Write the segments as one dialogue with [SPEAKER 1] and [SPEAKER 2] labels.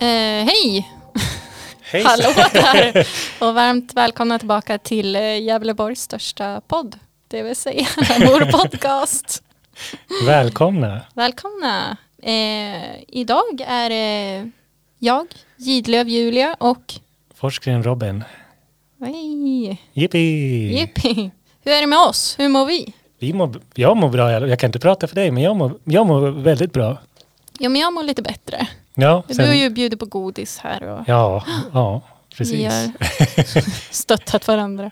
[SPEAKER 1] Eh, hej!
[SPEAKER 2] Hej!
[SPEAKER 1] Hallå där! Och varmt välkomna tillbaka till eh, Gävleborgs största podd, det vill säga vår podcast.
[SPEAKER 2] Välkomna!
[SPEAKER 1] Välkomna! Eh, idag är det jag, Gidlöv Julia och
[SPEAKER 2] Forskaren Robin.
[SPEAKER 1] hej,
[SPEAKER 2] Jippi!
[SPEAKER 1] Jippi. Hur är det med oss? Hur mår vi?
[SPEAKER 2] Vi mår, jag mår bra, i alla- jag kan inte prata för dig, men jag mår, jag mår väldigt bra.
[SPEAKER 1] Jo, men jag mår lite bättre.
[SPEAKER 2] Ja,
[SPEAKER 1] Du
[SPEAKER 2] sen-
[SPEAKER 1] har ju bjudit på godis här och
[SPEAKER 2] ja, ja
[SPEAKER 1] vi
[SPEAKER 2] precis.
[SPEAKER 1] har stöttat varandra.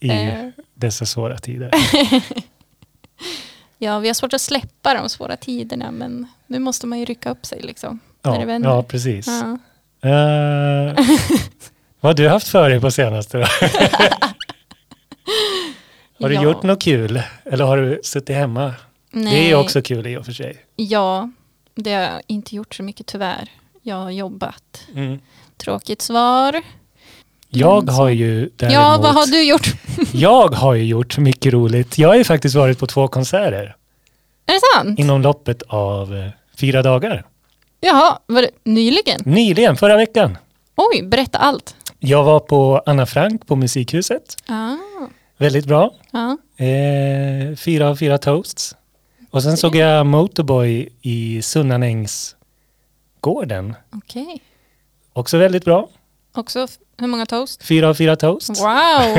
[SPEAKER 2] I
[SPEAKER 1] Eh,
[SPEAKER 2] dessa svåra tider.
[SPEAKER 1] ja, vi har svårt att släppa de svåra tiderna, men nu måste man ju rycka upp sig liksom. när det
[SPEAKER 2] Ja,
[SPEAKER 1] vänder.
[SPEAKER 2] ja precis.
[SPEAKER 1] Ja.
[SPEAKER 2] Eh, vad har du haft för dig på senaste då? Har du
[SPEAKER 1] Ja.
[SPEAKER 2] gjort något kul? Eller har du suttit hemma?
[SPEAKER 1] Nej.
[SPEAKER 2] Det är ju också kul i och för sig.
[SPEAKER 1] Ja, det har jag inte gjort så mycket tyvärr. Jag har jobbat. Tråkigt svar.
[SPEAKER 2] Mm. Jag
[SPEAKER 1] Mm,
[SPEAKER 2] har ju däremot...
[SPEAKER 1] Ja, vad har du gjort?
[SPEAKER 2] Jag har ju gjort mycket roligt. Jag har ju faktiskt varit på två konserter
[SPEAKER 1] Är det sant?
[SPEAKER 2] inom loppet av eh, fyra dagar.
[SPEAKER 1] Jaha, var det nyligen?
[SPEAKER 2] Nyligen, förra veckan.
[SPEAKER 1] Oj, berätta allt.
[SPEAKER 2] Jag var på Anna Frank på Musikhuset.
[SPEAKER 1] Ja,
[SPEAKER 2] Väldigt bra.
[SPEAKER 1] ja.
[SPEAKER 2] Eh, fyra av fyra toasts. Och sen såg jag Motorboy i Sunnanängsgården.
[SPEAKER 1] okej.
[SPEAKER 2] Också väldigt bra.
[SPEAKER 1] Också, f- hur många toast?
[SPEAKER 2] Fyra av fyra toasts.
[SPEAKER 1] Wow!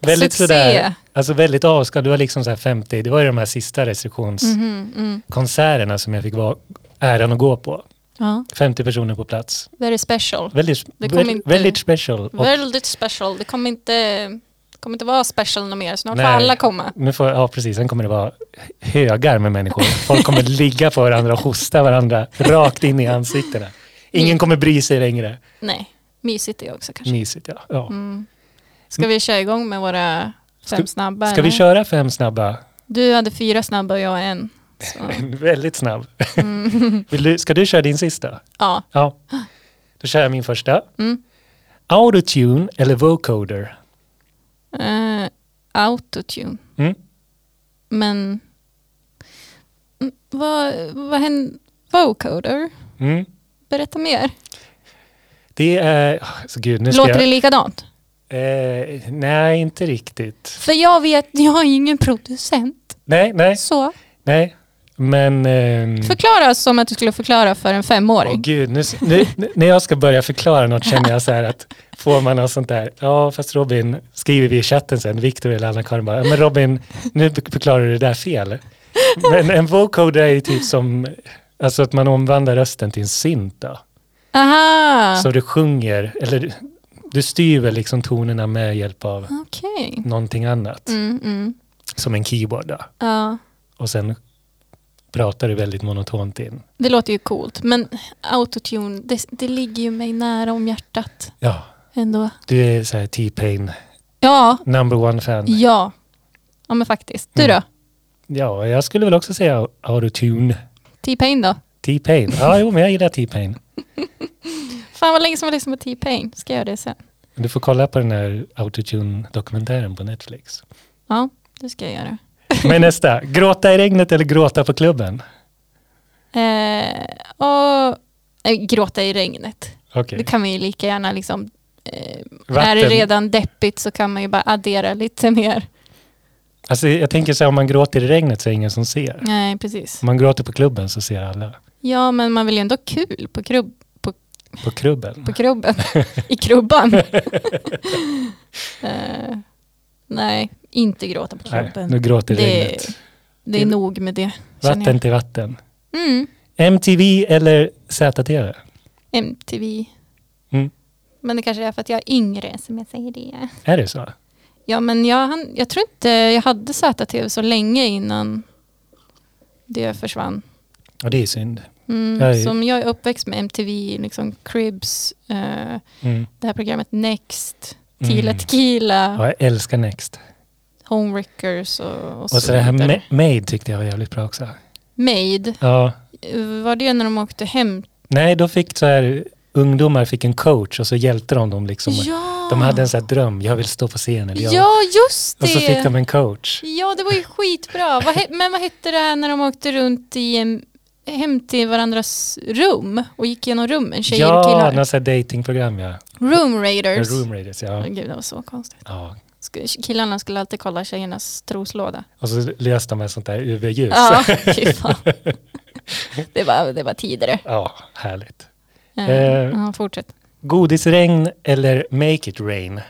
[SPEAKER 2] Väldigt
[SPEAKER 1] Succé.
[SPEAKER 2] sådär, alltså väldigt avskal. Det var liksom så här 50, det var ju de här sista restriktionskonserterna
[SPEAKER 1] Mhm, mm.
[SPEAKER 2] som jag fick vara äran att gå på.
[SPEAKER 1] Ja,
[SPEAKER 2] 50 personer på plats.
[SPEAKER 1] very special.
[SPEAKER 2] Väldigt,
[SPEAKER 1] Det kom
[SPEAKER 2] väl-
[SPEAKER 1] inte-
[SPEAKER 2] väldigt special. Och
[SPEAKER 1] Väldigt special. Det kommer inte, kommer inte vara special något mer. Snart får
[SPEAKER 2] Nej.
[SPEAKER 1] alla komma.
[SPEAKER 2] nu får, ja, precis. Sen kommer det vara högar med människor. Folk kommer ligga på varandra och hosta varandra rakt in i ansiktena. Ingen kommer bry sig längre.
[SPEAKER 1] Nej, mysigt det också kanske.
[SPEAKER 2] Mysigt, ja. ja.
[SPEAKER 1] Mm. Ska vi köra igång med våra fem snabba?
[SPEAKER 2] Ska vi
[SPEAKER 1] eller?
[SPEAKER 2] köra fem snabba?
[SPEAKER 1] Du hade fyra snabba och jag en. Så,
[SPEAKER 2] Väldigt snabb.
[SPEAKER 1] Mm.
[SPEAKER 2] Vill du, ska du köra din sista?
[SPEAKER 1] ja.
[SPEAKER 2] Ja. Då kör jag min första.
[SPEAKER 1] Mm.
[SPEAKER 2] Autotune eller vocoder?
[SPEAKER 1] Uh, autotune.
[SPEAKER 2] Mm.
[SPEAKER 1] Men Mm, vad, vad hände? Vocoder?
[SPEAKER 2] Mm.
[SPEAKER 1] Berätta mer.
[SPEAKER 2] Det är... Så gud, nu ska
[SPEAKER 1] Låter det
[SPEAKER 2] jag,
[SPEAKER 1] likadant?
[SPEAKER 2] eh, nej, inte riktigt.
[SPEAKER 1] För jag vet, jag är ingen producent.
[SPEAKER 2] Nej, nej, Mm.
[SPEAKER 1] Så.
[SPEAKER 2] nej. Men... ehm,
[SPEAKER 1] Förklara som att du skulle förklara för en femåring.
[SPEAKER 2] Åh gud, nu, nu, nu- när jag ska börja förklara något känner jag så här att får man något sånt där, ja fast Robin, skriver vi i chatten sen, Viktor eller Anna-Karin bara, men Robin, nu be- förklarar du det där fel. Men en vocoder är ju typ som, alltså att man omvandlar rösten till en synt då.
[SPEAKER 1] Aha,
[SPEAKER 2] Så du sjunger, eller du, du styr väl liksom tonerna med hjälp av
[SPEAKER 1] okej.
[SPEAKER 2] någonting annat,
[SPEAKER 1] Mm, mm.
[SPEAKER 2] som en keyboard då.
[SPEAKER 1] Ja,
[SPEAKER 2] Och sen pratar du väldigt monotont in.
[SPEAKER 1] det låter ju coolt. Men autotune, det, det ligger ju mig nära om hjärtat
[SPEAKER 2] Ja,
[SPEAKER 1] ändå.
[SPEAKER 2] du är så här T-Pain,
[SPEAKER 1] Ja,
[SPEAKER 2] number one fan.
[SPEAKER 1] ja. Ja men faktiskt. Du då?
[SPEAKER 2] Mm. Ja, jag skulle väl också säga autotune.
[SPEAKER 1] T-Pain då?
[SPEAKER 2] T-Pain. Ja, jo, men jag gillar T-Pain.
[SPEAKER 1] Fan vad länge som jag lyssnat på T-Pain. Ska jag göra det sen?
[SPEAKER 2] Du får kolla på den här autotune-dokumentären på Netflix.
[SPEAKER 1] Ja, det ska jag göra.
[SPEAKER 2] Men nästa. Gråta i regnet eller gråta på klubben?
[SPEAKER 1] Eh, och eh, gråta i regnet.
[SPEAKER 2] Okej.
[SPEAKER 1] Det kan man ju lika gärna liksom. Eh,
[SPEAKER 2] Vatten.
[SPEAKER 1] är det redan deppigt så kan man ju bara addera lite mer.
[SPEAKER 2] Alltså, jag tänker så här, om man gråter i regnet så är det ingen som ser.
[SPEAKER 1] Nej, precis.
[SPEAKER 2] Om man gråter på klubben så ser alla.
[SPEAKER 1] Ja, men man vill ju ändå ha kul på, krubb,
[SPEAKER 2] På klubben.
[SPEAKER 1] på krubben. I krubban. eh, nej, inte gråta på
[SPEAKER 2] Nej,
[SPEAKER 1] krubben.
[SPEAKER 2] nu gråter
[SPEAKER 1] det,
[SPEAKER 2] regnet.
[SPEAKER 1] det är nog med det. känner jag.
[SPEAKER 2] Vatten till vatten.
[SPEAKER 1] Mm,
[SPEAKER 2] MTV eller ZTV?
[SPEAKER 1] MTV.
[SPEAKER 2] Mm.
[SPEAKER 1] Men det kanske är för att jag är yngre som jag säger det.
[SPEAKER 2] Är det så?
[SPEAKER 1] Ja, men jag, hann- jag tror inte jag hade ZTV så länge innan det försvann.
[SPEAKER 2] Ja, det är synd.
[SPEAKER 1] Mm,
[SPEAKER 2] Jag är-
[SPEAKER 1] Som jag är uppväxt med MTV, liksom Cribs, eh,
[SPEAKER 2] Mm.
[SPEAKER 1] det här programmet Next,
[SPEAKER 2] Mm.
[SPEAKER 1] Tila Tequila,
[SPEAKER 2] Ja, jag älskar Next.
[SPEAKER 1] Homewreckers och, och,
[SPEAKER 2] Och så det här
[SPEAKER 1] vidare.
[SPEAKER 2] Ma- Made tyckte jag var jävligt bra också.
[SPEAKER 1] Maid,
[SPEAKER 2] Ja,
[SPEAKER 1] eh, var det när de åkte hem?
[SPEAKER 2] Nej, då fick så här, ungdomar fick en coach och så hjälpte de dem liksom
[SPEAKER 1] ja!
[SPEAKER 2] De hade en sån här dröm, jag vill stå på scen. Eller jag.
[SPEAKER 1] Ja, just det.
[SPEAKER 2] Och så fick de en coach.
[SPEAKER 1] Ja, det var ju skitbra. Vad he- men vad hette det här när de åkte runt i en, hem till varandras rum och gick igenom rummen, tjejer och
[SPEAKER 2] ja,
[SPEAKER 1] killar?
[SPEAKER 2] något sånt här datingprogram ja.
[SPEAKER 1] Room
[SPEAKER 2] Ja,
[SPEAKER 1] raiders.
[SPEAKER 2] Room raiders, ja.
[SPEAKER 1] Åh, Gud, det var så konstigt.
[SPEAKER 2] ja.
[SPEAKER 1] Sk- Killarna skulle alltid kolla tjejernas troslåda.
[SPEAKER 2] Och så löste de med sånt där UV-ljus.
[SPEAKER 1] Ja, fy fan. Det var, det var tidigare.
[SPEAKER 2] Ja, härligt.
[SPEAKER 1] Eh,
[SPEAKER 2] Eh.
[SPEAKER 1] ja, fortsätt.
[SPEAKER 2] Godisregn eller make it rain?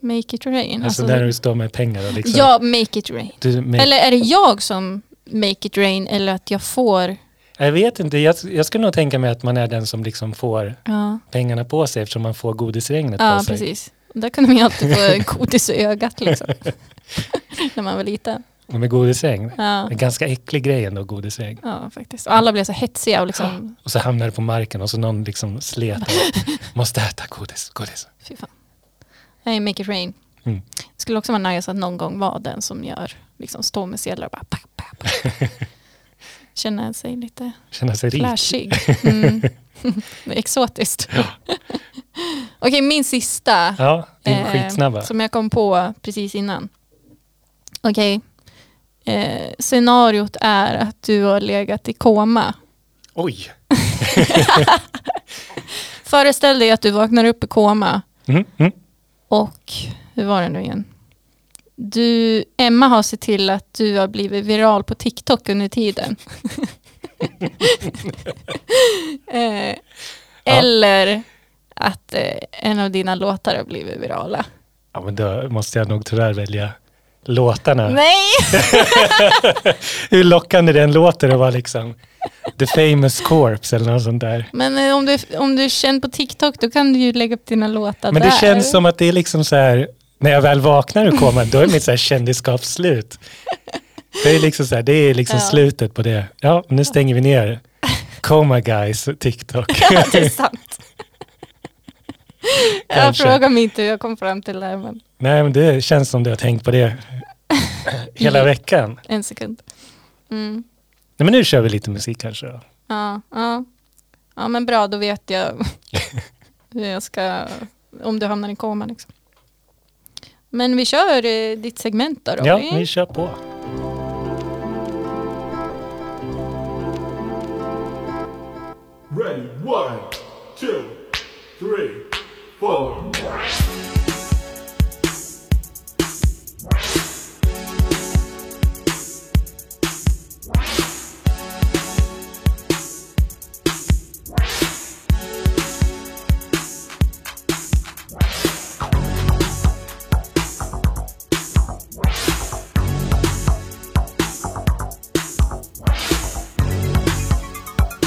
[SPEAKER 1] Make it rain.
[SPEAKER 2] Alltså
[SPEAKER 1] Alltså,
[SPEAKER 2] när du står med pengar och liksom...
[SPEAKER 1] Ja, make it rain.
[SPEAKER 2] Du, make,
[SPEAKER 1] Eller är det jag som make it rain eller att jag får?
[SPEAKER 2] Jag vet inte, jag, jag skulle nog tänka mig att man är den som liksom får
[SPEAKER 1] Ja,
[SPEAKER 2] pengarna på sig eftersom man får godisregnet
[SPEAKER 1] ja
[SPEAKER 2] på sig.
[SPEAKER 1] precis. Där kunde man ju alltid få godis i ögat liksom. när man var liten.
[SPEAKER 2] Och med godisregn.
[SPEAKER 1] Ja,
[SPEAKER 2] En ganska äcklig grej ändå, godisregn.
[SPEAKER 1] ja faktiskt. Och alla blev så hetsiga och liksom,
[SPEAKER 2] Och så hamnar det på marken och så någon liksom slet och måste äta godis, godis.
[SPEAKER 1] fy fan. Nej, make it rain.
[SPEAKER 2] Mm.
[SPEAKER 1] Det skulle också vara nice att någon gång vara den som gör, liksom står med sedlar och bara pa, pa, pa. Känna sig lite
[SPEAKER 2] Känna sig rik.
[SPEAKER 1] Flashig. Mm. Det är Exotiskt. Okej, min sista.
[SPEAKER 2] Ja, din
[SPEAKER 1] eh,
[SPEAKER 2] skitsnabba.
[SPEAKER 1] Som jag kom på precis innan. Okej. Eh, scenariot är att du har legat i koma.
[SPEAKER 2] Oj!
[SPEAKER 1] Föreställ dig att du vaknar upp i koma
[SPEAKER 2] Mm, mm.
[SPEAKER 1] och, hur var det nu igen? Du, Emma har sett till att du har blivit viral på TikTok under tiden. eh, Eller att eh, en av dina låtar har blivit virala.
[SPEAKER 2] Ja, men då måste jag nog tyvärr välja låtarna.
[SPEAKER 1] Nej!
[SPEAKER 2] Hur lockande den låter att vara liksom The famous corpse eller något sånt där.
[SPEAKER 1] Men eh, om du, om du är känd på TikTok då kan du ju lägga upp dina låtar
[SPEAKER 2] Men
[SPEAKER 1] där.
[SPEAKER 2] det känns som att det är liksom så här, när jag väl vaknar ur koman, då är mitt så här kändisskap slut. Det är liksom, så här, det är liksom
[SPEAKER 1] Ja.
[SPEAKER 2] slutet på det. Ja, nu stänger vi ner Coma Guys TikTok.
[SPEAKER 1] Ja, det är sant. jag
[SPEAKER 2] Kanske.
[SPEAKER 1] frågar mig inte hur jag kom fram till det här, men
[SPEAKER 2] Nej, men det känns som du har tänkt på det hela veckan.
[SPEAKER 1] en sekund. Mm.
[SPEAKER 2] Nej, men nu kör vi lite musik kanske. då.
[SPEAKER 1] Ja, ja. ja, men bra, då vet jag hur jag ska, om du hamnar i koma. Liksom. Men vi kör eh, ditt segment då,
[SPEAKER 2] Ja,
[SPEAKER 1] Robin.
[SPEAKER 2] vi kör på.
[SPEAKER 3] Ready, one, two, three, four.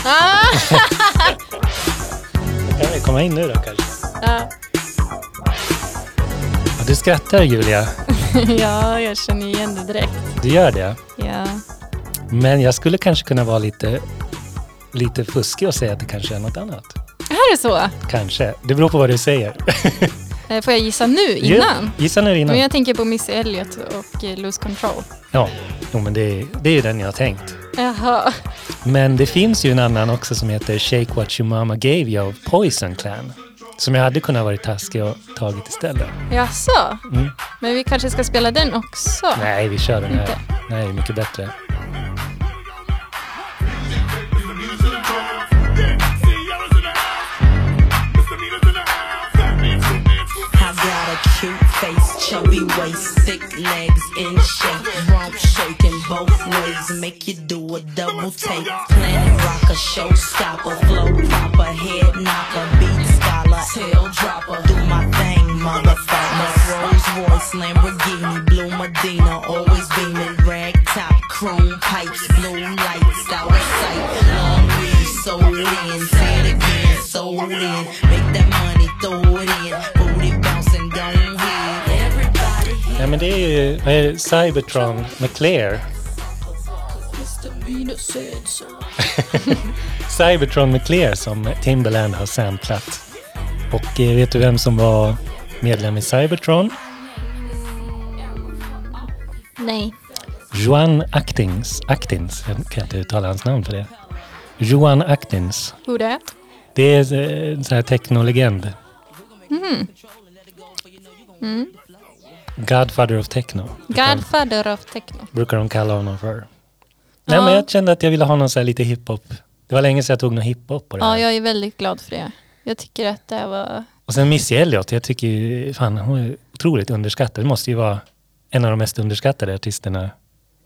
[SPEAKER 1] ah!
[SPEAKER 2] Kan vi komma in nu då kanske?
[SPEAKER 1] ja.
[SPEAKER 2] Ja, du skrattar Julia,
[SPEAKER 1] ja, jag känner igen det direkt.
[SPEAKER 2] du gör det.
[SPEAKER 1] Ja.
[SPEAKER 2] Men jag skulle kanske kunna vara lite, lite fuskig och säga att det kanske är något annat.
[SPEAKER 1] Här är så.
[SPEAKER 2] Kanske. Det beror på vad du säger.
[SPEAKER 1] Eh, Får jag gissa nu,
[SPEAKER 2] Ja,
[SPEAKER 1] innan?
[SPEAKER 2] Gissa nu innan.
[SPEAKER 1] Men jag tänker på Missy Elliot och eh, Lose Control.
[SPEAKER 2] Ja, jo, men det, är- det är ju den jag har tänkt.
[SPEAKER 1] Jaha.
[SPEAKER 2] Men det finns ju en annan också som heter Shake What Your Mama Gave You av Poison Clan. Som jag hade kunnat vara taskig och tagit istället.
[SPEAKER 1] Jaså?
[SPEAKER 2] Mm.
[SPEAKER 1] Men vi kanske ska spela den också?
[SPEAKER 2] Nej, vi kör den här.
[SPEAKER 1] Inte.
[SPEAKER 2] Nej, det är mycket bättre.
[SPEAKER 4] I got a cute face, chubby waist, thick legs in shape. Rump shaking both ways, make you do a double take. Planet rocker, showstopper, flow popper, head knocker, beat scholar, tail dropper. Do my thing, motherfucker. Rolls Royce, Lamborghini, blue Medina, always beaming, rag top, chrome pipes, blue lights, out of sight. Long leaves, so lean, say it again, so lean. Make that money, throw it in, booty bouncing, don't hit. Everybody hit
[SPEAKER 2] Nej, men det är ju vad är det? Cybertron McClare.
[SPEAKER 4] the meaner said so.
[SPEAKER 2] Cybertron McClare som Timbaland har samplat. Och eh, vet du vem som var medlem i Cybertron?
[SPEAKER 1] Nej.
[SPEAKER 2] Joan Actins. Actins, jag kan inte uttala hans namn för det. Joan Actins.
[SPEAKER 1] Who that?
[SPEAKER 2] Det är eh, en sån här technolegend.
[SPEAKER 1] Mm.
[SPEAKER 2] Godfather of techno.
[SPEAKER 1] Godfather of techno.
[SPEAKER 2] brukar de kalla honom för. Nej, men jag kände att jag ville ha någon så här lite hiphop. Det var länge sedan jag tog någon hiphop på det
[SPEAKER 1] Ja,
[SPEAKER 2] här.
[SPEAKER 1] jag är väldigt glad för det. Jag tycker att det här var...
[SPEAKER 2] Och sen Missy Elliott, jag tycker ju, fan hon är otroligt underskattad. Hon måste ju vara en av de mest underskattade artisterna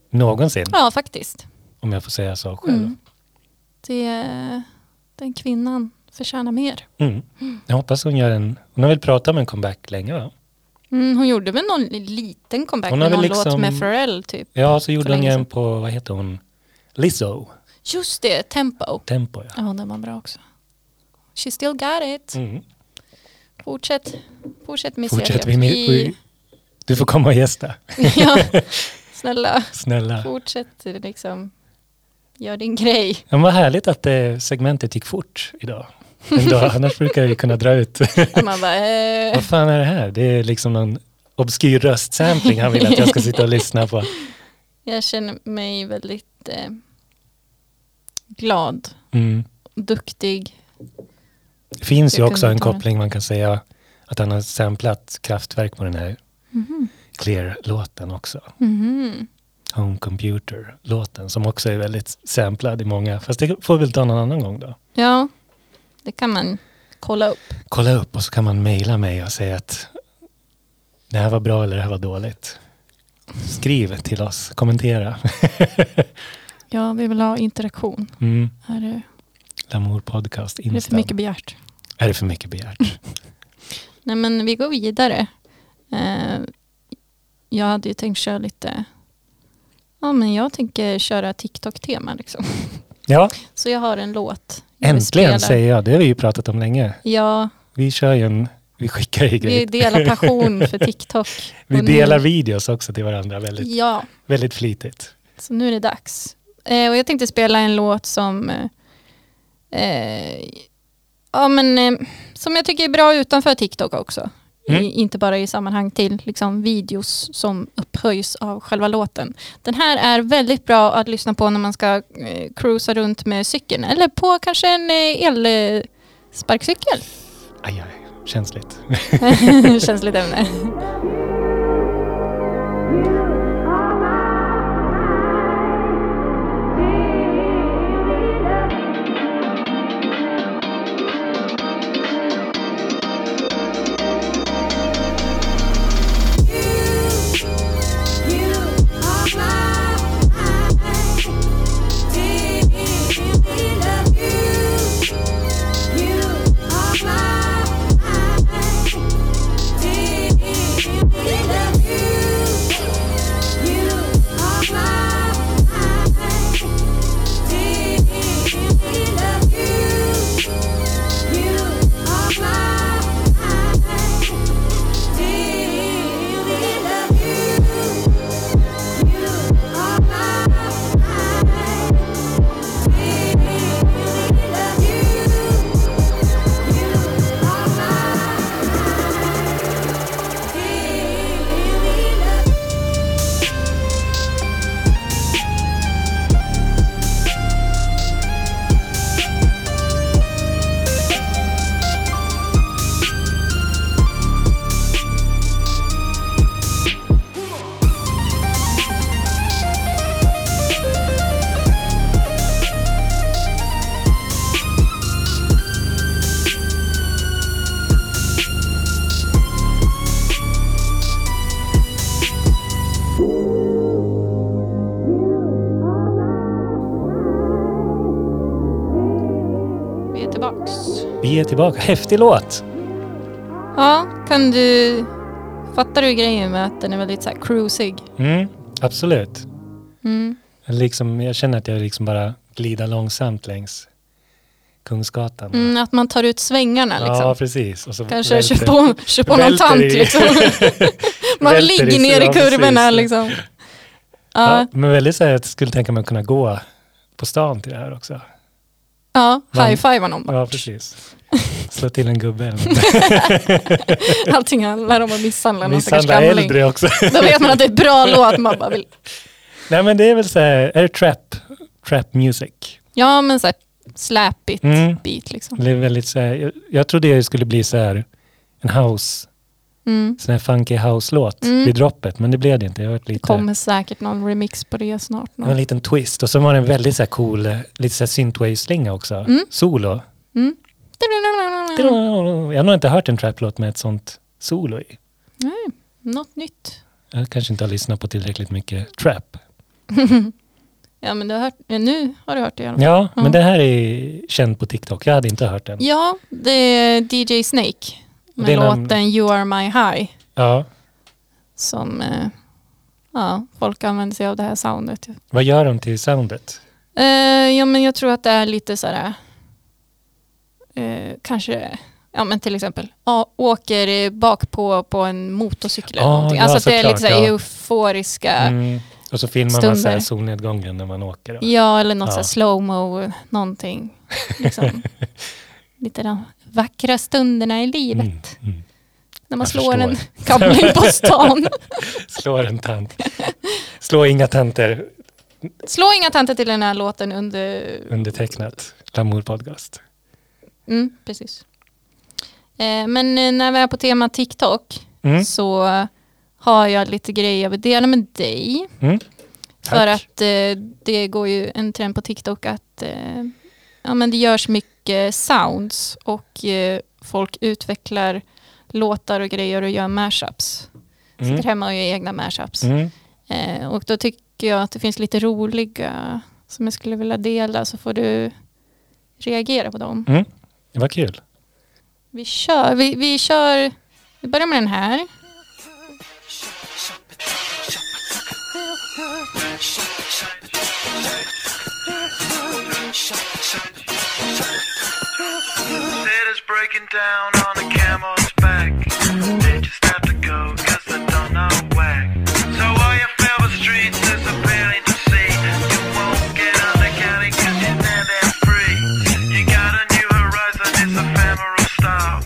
[SPEAKER 2] någonsin,
[SPEAKER 1] Ja, faktiskt.
[SPEAKER 2] om jag får säga så själv. Mm.
[SPEAKER 1] Det, den kvinnan förtjänar mer.
[SPEAKER 2] Mm. Jag hoppas hon gör en, hon har väl pratat om en comeback länge va?
[SPEAKER 1] Mm, hon gjorde väl någon liten comeback
[SPEAKER 2] Hon har
[SPEAKER 1] med någon
[SPEAKER 2] väl
[SPEAKER 1] låt
[SPEAKER 2] liksom-
[SPEAKER 1] med Pharrell typ.
[SPEAKER 2] Ja, så gjorde hon ju
[SPEAKER 1] länge
[SPEAKER 2] en
[SPEAKER 1] sedan.
[SPEAKER 2] på, vad heter hon, Lizzo,
[SPEAKER 1] Just det, Tempo.
[SPEAKER 2] Tempo ja.
[SPEAKER 1] Ja, den var bra också. She still got it.
[SPEAKER 2] Mm.
[SPEAKER 1] Fortsätt, fortsätt Miss
[SPEAKER 2] Fortsätt, vi,
[SPEAKER 1] Elliot.
[SPEAKER 2] vi, du får komma och gästa,
[SPEAKER 1] ja, snälla,
[SPEAKER 2] snälla.
[SPEAKER 1] fortsätt liksom. Gör din grej.
[SPEAKER 2] Ja, men vad härligt att eh, segmentet gick fort idag. En dag, annars brukar jag ju kunna dra ut.
[SPEAKER 1] Och man bara, eh,
[SPEAKER 2] vad fan är det här? Det är liksom någon obskyr röstsampling han vill att jag ska sitta och lyssna på.
[SPEAKER 1] jag känner mig väldigt eh, glad,
[SPEAKER 2] Mm.
[SPEAKER 1] duktig.
[SPEAKER 2] Det finns ju
[SPEAKER 1] Jag
[SPEAKER 2] också
[SPEAKER 1] kunde
[SPEAKER 2] en
[SPEAKER 1] inte ta det.
[SPEAKER 2] koppling man kan säga att han har samplat Kraftwerk på den här Clear-låten också.
[SPEAKER 1] Mhm.
[SPEAKER 2] Home Computer-låten som också är väldigt samplad i många. Fast det får vi väl ta någon annan gång då.
[SPEAKER 1] Ja, det kan man kolla upp.
[SPEAKER 2] Kolla upp och så kan man mejla mig och säga att det här var bra eller det här var dåligt. Skriv till oss, kommentera.
[SPEAKER 1] Ja, vi vill ha interaktion.
[SPEAKER 2] Mm.
[SPEAKER 1] Är det,
[SPEAKER 2] Lamour podcast,
[SPEAKER 1] är det för
[SPEAKER 2] Insta.
[SPEAKER 1] mycket begärt?
[SPEAKER 2] Är det för mycket begärt?
[SPEAKER 1] Nej, men vi går vidare. Eh, jag hade ju tänkt köra lite... Ja, men jag tänker köra TikTok-tema liksom.
[SPEAKER 2] Ja,
[SPEAKER 1] Så jag har en låt. jag vill spela.
[SPEAKER 2] äntligen säger jag. Det har vi ju pratat om länge.
[SPEAKER 1] Ja,
[SPEAKER 2] Vi kör ju en, vi skickar ju
[SPEAKER 1] vi
[SPEAKER 2] grejer.
[SPEAKER 1] delar passion för TikTok.
[SPEAKER 2] Vi
[SPEAKER 1] Och nu-
[SPEAKER 2] delar videos också till varandra väldigt,
[SPEAKER 1] Ja,
[SPEAKER 2] väldigt flitigt.
[SPEAKER 1] så nu är det dags. Eh, och jag tänkte spela en låt som... eh, Eh, ja, men eh, som jag tycker är bra utanför TikTok också.
[SPEAKER 2] Mm.
[SPEAKER 1] I, inte bara i sammanhang till liksom, videos som upphöjs av själva låten. Den här är väldigt bra att lyssna på när man ska eh, cruisa runt med cykeln eller på kanske en eh, elsparkcykel.
[SPEAKER 2] Aj, aj, känsligt.
[SPEAKER 1] Känsligt ämne. Vi är tillbaks.
[SPEAKER 2] Vi är tillbaka. Häftig låt.
[SPEAKER 1] Ja, kan du... Fattar du grejen med att den är väldigt så här cruisig?
[SPEAKER 2] Mm, absolut.
[SPEAKER 1] Mm.
[SPEAKER 2] Jag Liksom, jag känner att jag liksom bara glider långsamt längs Kungsgatan.
[SPEAKER 1] Mm, att man tar ut svängarna liksom.
[SPEAKER 2] Ja, precis. Och så
[SPEAKER 1] Kanske
[SPEAKER 2] välter-
[SPEAKER 1] kör på, kör på någon
[SPEAKER 2] välter
[SPEAKER 1] tant
[SPEAKER 2] i-
[SPEAKER 1] liksom. Man
[SPEAKER 2] Välter i
[SPEAKER 1] ligger
[SPEAKER 2] sig,
[SPEAKER 1] ner i
[SPEAKER 2] ja,
[SPEAKER 1] kurvorna
[SPEAKER 2] precis.
[SPEAKER 1] liksom.
[SPEAKER 2] Ja,
[SPEAKER 1] Ja,
[SPEAKER 2] men väldigt så här, jag skulle tänka mig att kunna gå på stan till det här också.
[SPEAKER 1] ja
[SPEAKER 2] Man-
[SPEAKER 1] high-five någon.
[SPEAKER 2] Ja, precis. Slå till en gubbe.
[SPEAKER 1] Allting handlar om att misshandla någon stackars
[SPEAKER 2] Misshandla
[SPEAKER 1] gamling.
[SPEAKER 2] äldre också.
[SPEAKER 1] Då vet man att det är bra låt. Man bara vill.
[SPEAKER 2] Nej, men det är väl så här, är det trap? Trap music.
[SPEAKER 1] Ja, men så här släpigt
[SPEAKER 2] Mm.
[SPEAKER 1] beat liksom.
[SPEAKER 2] Det är väldigt så här, jag, jag trodde det skulle bli så här en house,
[SPEAKER 1] Mm.
[SPEAKER 2] sån här funky house-låt
[SPEAKER 1] Mm.
[SPEAKER 2] vid droppet. Men det blev det inte. Jag var lite,
[SPEAKER 1] Det kommer säkert någon remix på det snart.
[SPEAKER 2] det var en
[SPEAKER 1] Någon.
[SPEAKER 2] liten twist. Och så var det en väldigt så här cool, eh, lite så här synthwave-slinga också.
[SPEAKER 1] Mm.
[SPEAKER 2] Solo. Jag har nog inte hört en trap-låt med ett sånt solo i.
[SPEAKER 1] Nej, något nytt.
[SPEAKER 2] Jag kanske inte har lyssnat på tillräckligt mycket trap.
[SPEAKER 1] Ja, men du har hört, nu har du hört det i alla fall.
[SPEAKER 2] Ja,
[SPEAKER 1] Ja.
[SPEAKER 2] men det här är känd på TikTok. Jag hade inte hört den.
[SPEAKER 1] Ja, det är DJ Snake med
[SPEAKER 2] Det är någon-
[SPEAKER 1] låten You Are My High
[SPEAKER 2] Ja.
[SPEAKER 1] som eh, ja, folk använder sig av det här soundet.
[SPEAKER 2] Vad gör de till soundet?
[SPEAKER 1] Eh, ja, men jag tror att det är lite så här, eh, kanske, ja men till exempel, ja, åker eh, bak på, på en motorcykel eller
[SPEAKER 2] Ah,
[SPEAKER 1] någonting.
[SPEAKER 2] ja,
[SPEAKER 1] Alltså att det är
[SPEAKER 2] såklart,
[SPEAKER 1] lite så här
[SPEAKER 2] ja.
[SPEAKER 1] euforiska,
[SPEAKER 2] Mm. Och så filmar man så
[SPEAKER 1] Stunder.
[SPEAKER 2] här solnedgången när man åker. och-
[SPEAKER 1] ja eller något
[SPEAKER 2] Ja.
[SPEAKER 1] så här slowmo, någonting. Liksom. lite de vackra stunderna i livet.
[SPEAKER 2] Mm, mm.
[SPEAKER 1] När man
[SPEAKER 2] Jag
[SPEAKER 1] slår en
[SPEAKER 2] förstår.
[SPEAKER 1] gamling på stan.
[SPEAKER 2] Slår en tant. Slå inga tanter.
[SPEAKER 1] Slå inga tanter till den här låten under...
[SPEAKER 2] Undertecknat. Lamour podcast.
[SPEAKER 1] Mm, precis. Eh, men eh, när vi är på tema TikTok
[SPEAKER 2] Mm.
[SPEAKER 1] så har jag lite grejer jag vill dela med dig.
[SPEAKER 2] Mm.
[SPEAKER 1] För
[SPEAKER 2] Tack.
[SPEAKER 1] att eh, det går ju en trend på TikTok att eh, ja, men det görs mycket sounds och eh, folk utvecklar låtar och grejer och gör mashups.
[SPEAKER 2] Mm.
[SPEAKER 1] Sitter hemma och gör egna mashups.
[SPEAKER 2] Mm.
[SPEAKER 1] Eh, och då tycker jag att det finns lite roliga som jag skulle vilja dela så får du reagera på dem.
[SPEAKER 2] Mm. Det var kul.
[SPEAKER 1] Vi kör, vi, vi kör, vi börjar med den här.
[SPEAKER 5] It is breaking down on a camel's back. They just have to go, cause they don't know where. So all you favorite streets is appealing to see. You won't get on the county cause you're never free. You got a new horizon, it's ephemeral style.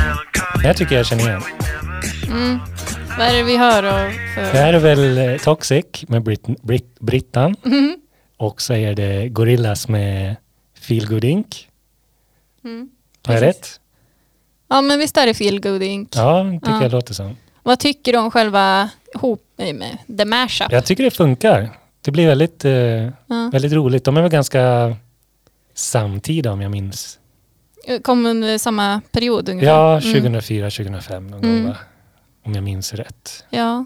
[SPEAKER 5] Melancholy
[SPEAKER 2] Jag tycker jag känner igen.
[SPEAKER 5] we never
[SPEAKER 1] Vad är det vi hör då? För?
[SPEAKER 2] Det här är väl eh, Toxic med Brit- Brit- Brittan.
[SPEAKER 1] Mhm.
[SPEAKER 2] Och så är det Gorillas med Feel Good Inc.
[SPEAKER 1] Mm.
[SPEAKER 2] Har jag
[SPEAKER 1] Precis.
[SPEAKER 2] rätt?
[SPEAKER 1] Ja men visst är det Feel Good Inc.
[SPEAKER 2] Ja, tycker
[SPEAKER 1] Ja.
[SPEAKER 2] jag låter som.
[SPEAKER 1] Vad tycker du om själva hop, nej, med the mashup?
[SPEAKER 2] Jag tycker det funkar. Det blir väldigt, eh,
[SPEAKER 1] Ja.
[SPEAKER 2] väldigt roligt. De är väl ganska samtida om jag minns.
[SPEAKER 1] Kom under samma period ungefär?
[SPEAKER 2] Ja,
[SPEAKER 1] Mm.
[SPEAKER 2] 2004, 2005 någon
[SPEAKER 1] Mm.
[SPEAKER 2] gång va? Om jag minns rätt.
[SPEAKER 1] Ja,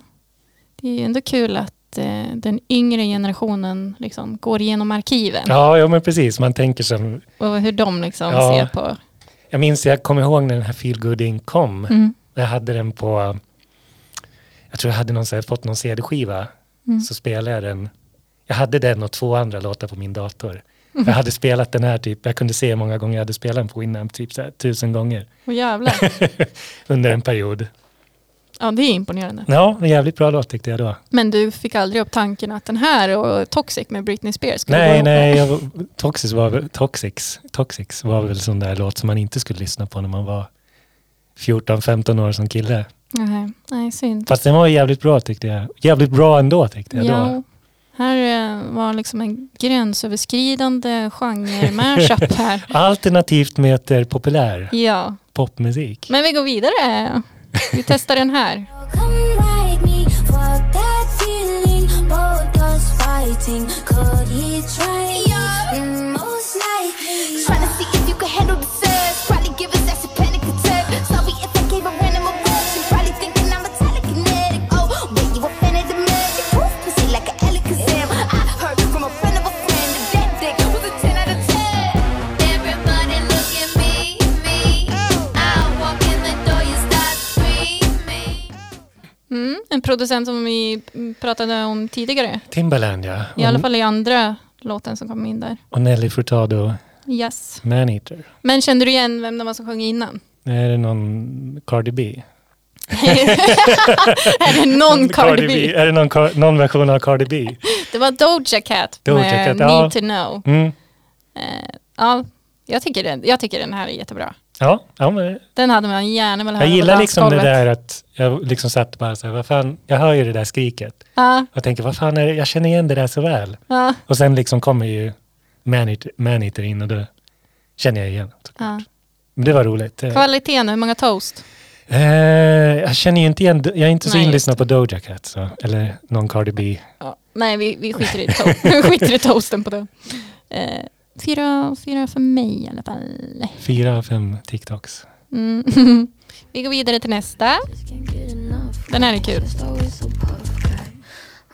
[SPEAKER 1] det är ju ändå kul att eh, den yngre generationen liksom går igenom arkiven
[SPEAKER 2] Ja, ja men precis. Man tänker som...
[SPEAKER 1] och hur de liksom
[SPEAKER 2] Ja.
[SPEAKER 1] ser på.
[SPEAKER 2] Jag minns, jag kommer ihåg när den här Feel Good In kom.
[SPEAKER 1] Mm.
[SPEAKER 2] Jag hade den på... Jag tror jag hade någon, så här, fått någon CD-skiva. Så spelade jag den. Jag hade den och två andra låtar på min dator. Jag hade spelat den här typ, jag kunde se hur många gånger jag hade spelat den på Winamp, typ så här, tusen gånger
[SPEAKER 1] Och jävlar,
[SPEAKER 2] under en period.
[SPEAKER 1] ja det är imponerande.
[SPEAKER 2] Ja, en jävligt bra låt tyckte jag då.
[SPEAKER 1] Men du fick aldrig upp tanken att den här och Toxic med Britney Spears skulle gå
[SPEAKER 2] Nej,
[SPEAKER 1] ihop?
[SPEAKER 2] nej, jag, Toxics, var, väl- Toxics, Toxics var väl sån där låt som man inte skulle lyssna på när man var 14-15 år som kille.
[SPEAKER 1] Nej, nej synd.
[SPEAKER 2] Fast den var ju jävligt bra tyckte jag. Jävligt bra ändå tyckte jag
[SPEAKER 1] Ja,
[SPEAKER 2] då.
[SPEAKER 1] här eh, var liksom en gränsöverskridande genre-mashup här.
[SPEAKER 2] Alternativt möter populär
[SPEAKER 1] Ja,
[SPEAKER 2] popmusik.
[SPEAKER 1] men vi går vidare. Vi testar den här.
[SPEAKER 6] Come ride me, fuck that feeling. Both us fighting, could he try? Yeah. Mm, most likely.
[SPEAKER 7] Tryna see if you can handle the sex. Probably give us that's a panic attack. Sorry if I gave a random eruption. Probably thinking I'm a telekinetic. Oh, wait, you a fan of the magic? Proof pussy like an Alakazam. I heard from a friend of a friend that that dick was a 10 out of 10. Everybody look at me, me. I walk in the door, you start screaming.
[SPEAKER 1] Mm, en producent som vi mm, pratade om tidigare.
[SPEAKER 2] Timbaland ja.
[SPEAKER 1] I alla fall i andra låten som kom in där.
[SPEAKER 2] Och Nelly Furtado,
[SPEAKER 1] Yes.
[SPEAKER 2] Maneater.
[SPEAKER 1] Men kände du igen vem det var som sjöng innan?
[SPEAKER 2] Är det någon Cardi B?
[SPEAKER 1] Är det någon Cardi B?
[SPEAKER 2] Är det någon, Car- någon version av Cardi B?
[SPEAKER 1] Det var Doja Cat
[SPEAKER 2] Doja
[SPEAKER 1] med
[SPEAKER 2] Cat, ja.
[SPEAKER 1] Need to Know.
[SPEAKER 2] Mm.
[SPEAKER 1] Eh, ja, jag tycker, den, jag tycker den här är jättebra.
[SPEAKER 2] Ja, ja men
[SPEAKER 1] Den hade man gärna velat höra
[SPEAKER 2] Jag
[SPEAKER 1] på
[SPEAKER 2] gillar liksom det
[SPEAKER 1] dansgolvet.
[SPEAKER 2] där att jag liksom satt bara så här, vad fan, jag hör ju det där skriket.
[SPEAKER 1] Ja,
[SPEAKER 2] Jag tänker, vad fan är det, jag känner igen det där så väl.
[SPEAKER 1] ja,
[SPEAKER 2] Och sen liksom kommer ju Maneater Maneater in och då känner jag igen.
[SPEAKER 1] ja.
[SPEAKER 2] Men det var roligt. Eh,
[SPEAKER 1] Kvaliteten, hur många toast?
[SPEAKER 2] Eh, jag känner ju inte igen, jag är inte så
[SPEAKER 1] Nej,
[SPEAKER 2] inlyssnad på Doja Cat, så, eller någon Cardi B.
[SPEAKER 1] Ja. Nej, vi, vi, skiter i to- vi skiter i toasten på det. Eh, fyra, fyra för mig i alla fall.
[SPEAKER 2] Fyra, av fem TikToks.
[SPEAKER 1] Mm. vi går vidare till nästa.
[SPEAKER 8] Can't get enough.
[SPEAKER 1] Den här är kul.
[SPEAKER 8] Just always so puff guy.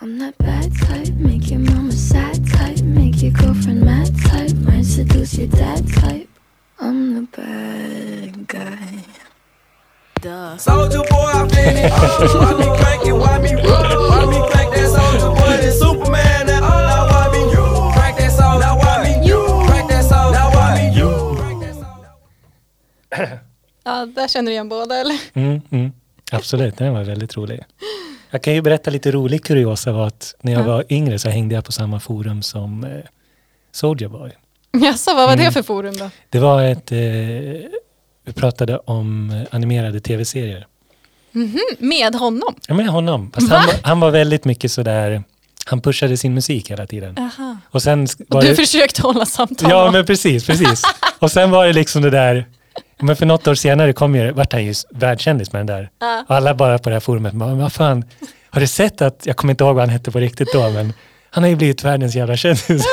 [SPEAKER 8] I'm that bad type, make your mama sad type, make your girlfriend mad type, might seduce your dad type. I'm the bad guy.
[SPEAKER 9] Soldier boy, I been it. Why me crank it? Why me roll? Why me crank that soldier boy? This Superman that now why me you? Crank that soul, now why me you? Crank that soul, now why me you? Crank that soul.
[SPEAKER 1] Ja, där känner du igen båda eller?
[SPEAKER 2] Mm, mm. Absolut, den var väldigt rolig. Jag kan ju berätta lite rolig kuriosa var att när jag var yngre så hängde jag på samma forum som eh, Soulja Boy.
[SPEAKER 1] Jaså, vad var
[SPEAKER 2] Mm.
[SPEAKER 1] det för forum då?
[SPEAKER 2] Det var ett, eh, vi pratade om eh, animerade tv-serier.
[SPEAKER 1] Med honom?
[SPEAKER 2] Ja, men honom. Fast
[SPEAKER 1] Va?
[SPEAKER 2] han, var- han var väldigt mycket sådär, han pushade sin musik hela tiden.
[SPEAKER 1] Aha.
[SPEAKER 2] Och sen sk- var
[SPEAKER 1] Och du
[SPEAKER 2] det-
[SPEAKER 1] försökte hålla samtal?
[SPEAKER 2] Ja,
[SPEAKER 1] då?
[SPEAKER 2] men precis, precis. Och sen var det liksom det där, men för något år senare kom ju, vart han ju s- världskändis med den där.
[SPEAKER 1] Ja.
[SPEAKER 2] Och alla bara på det här forumet, bara, men vad fan, har du sett att, jag kommer inte ihåg vad han hette på riktigt då, men han har ju blivit världens jävla kändis.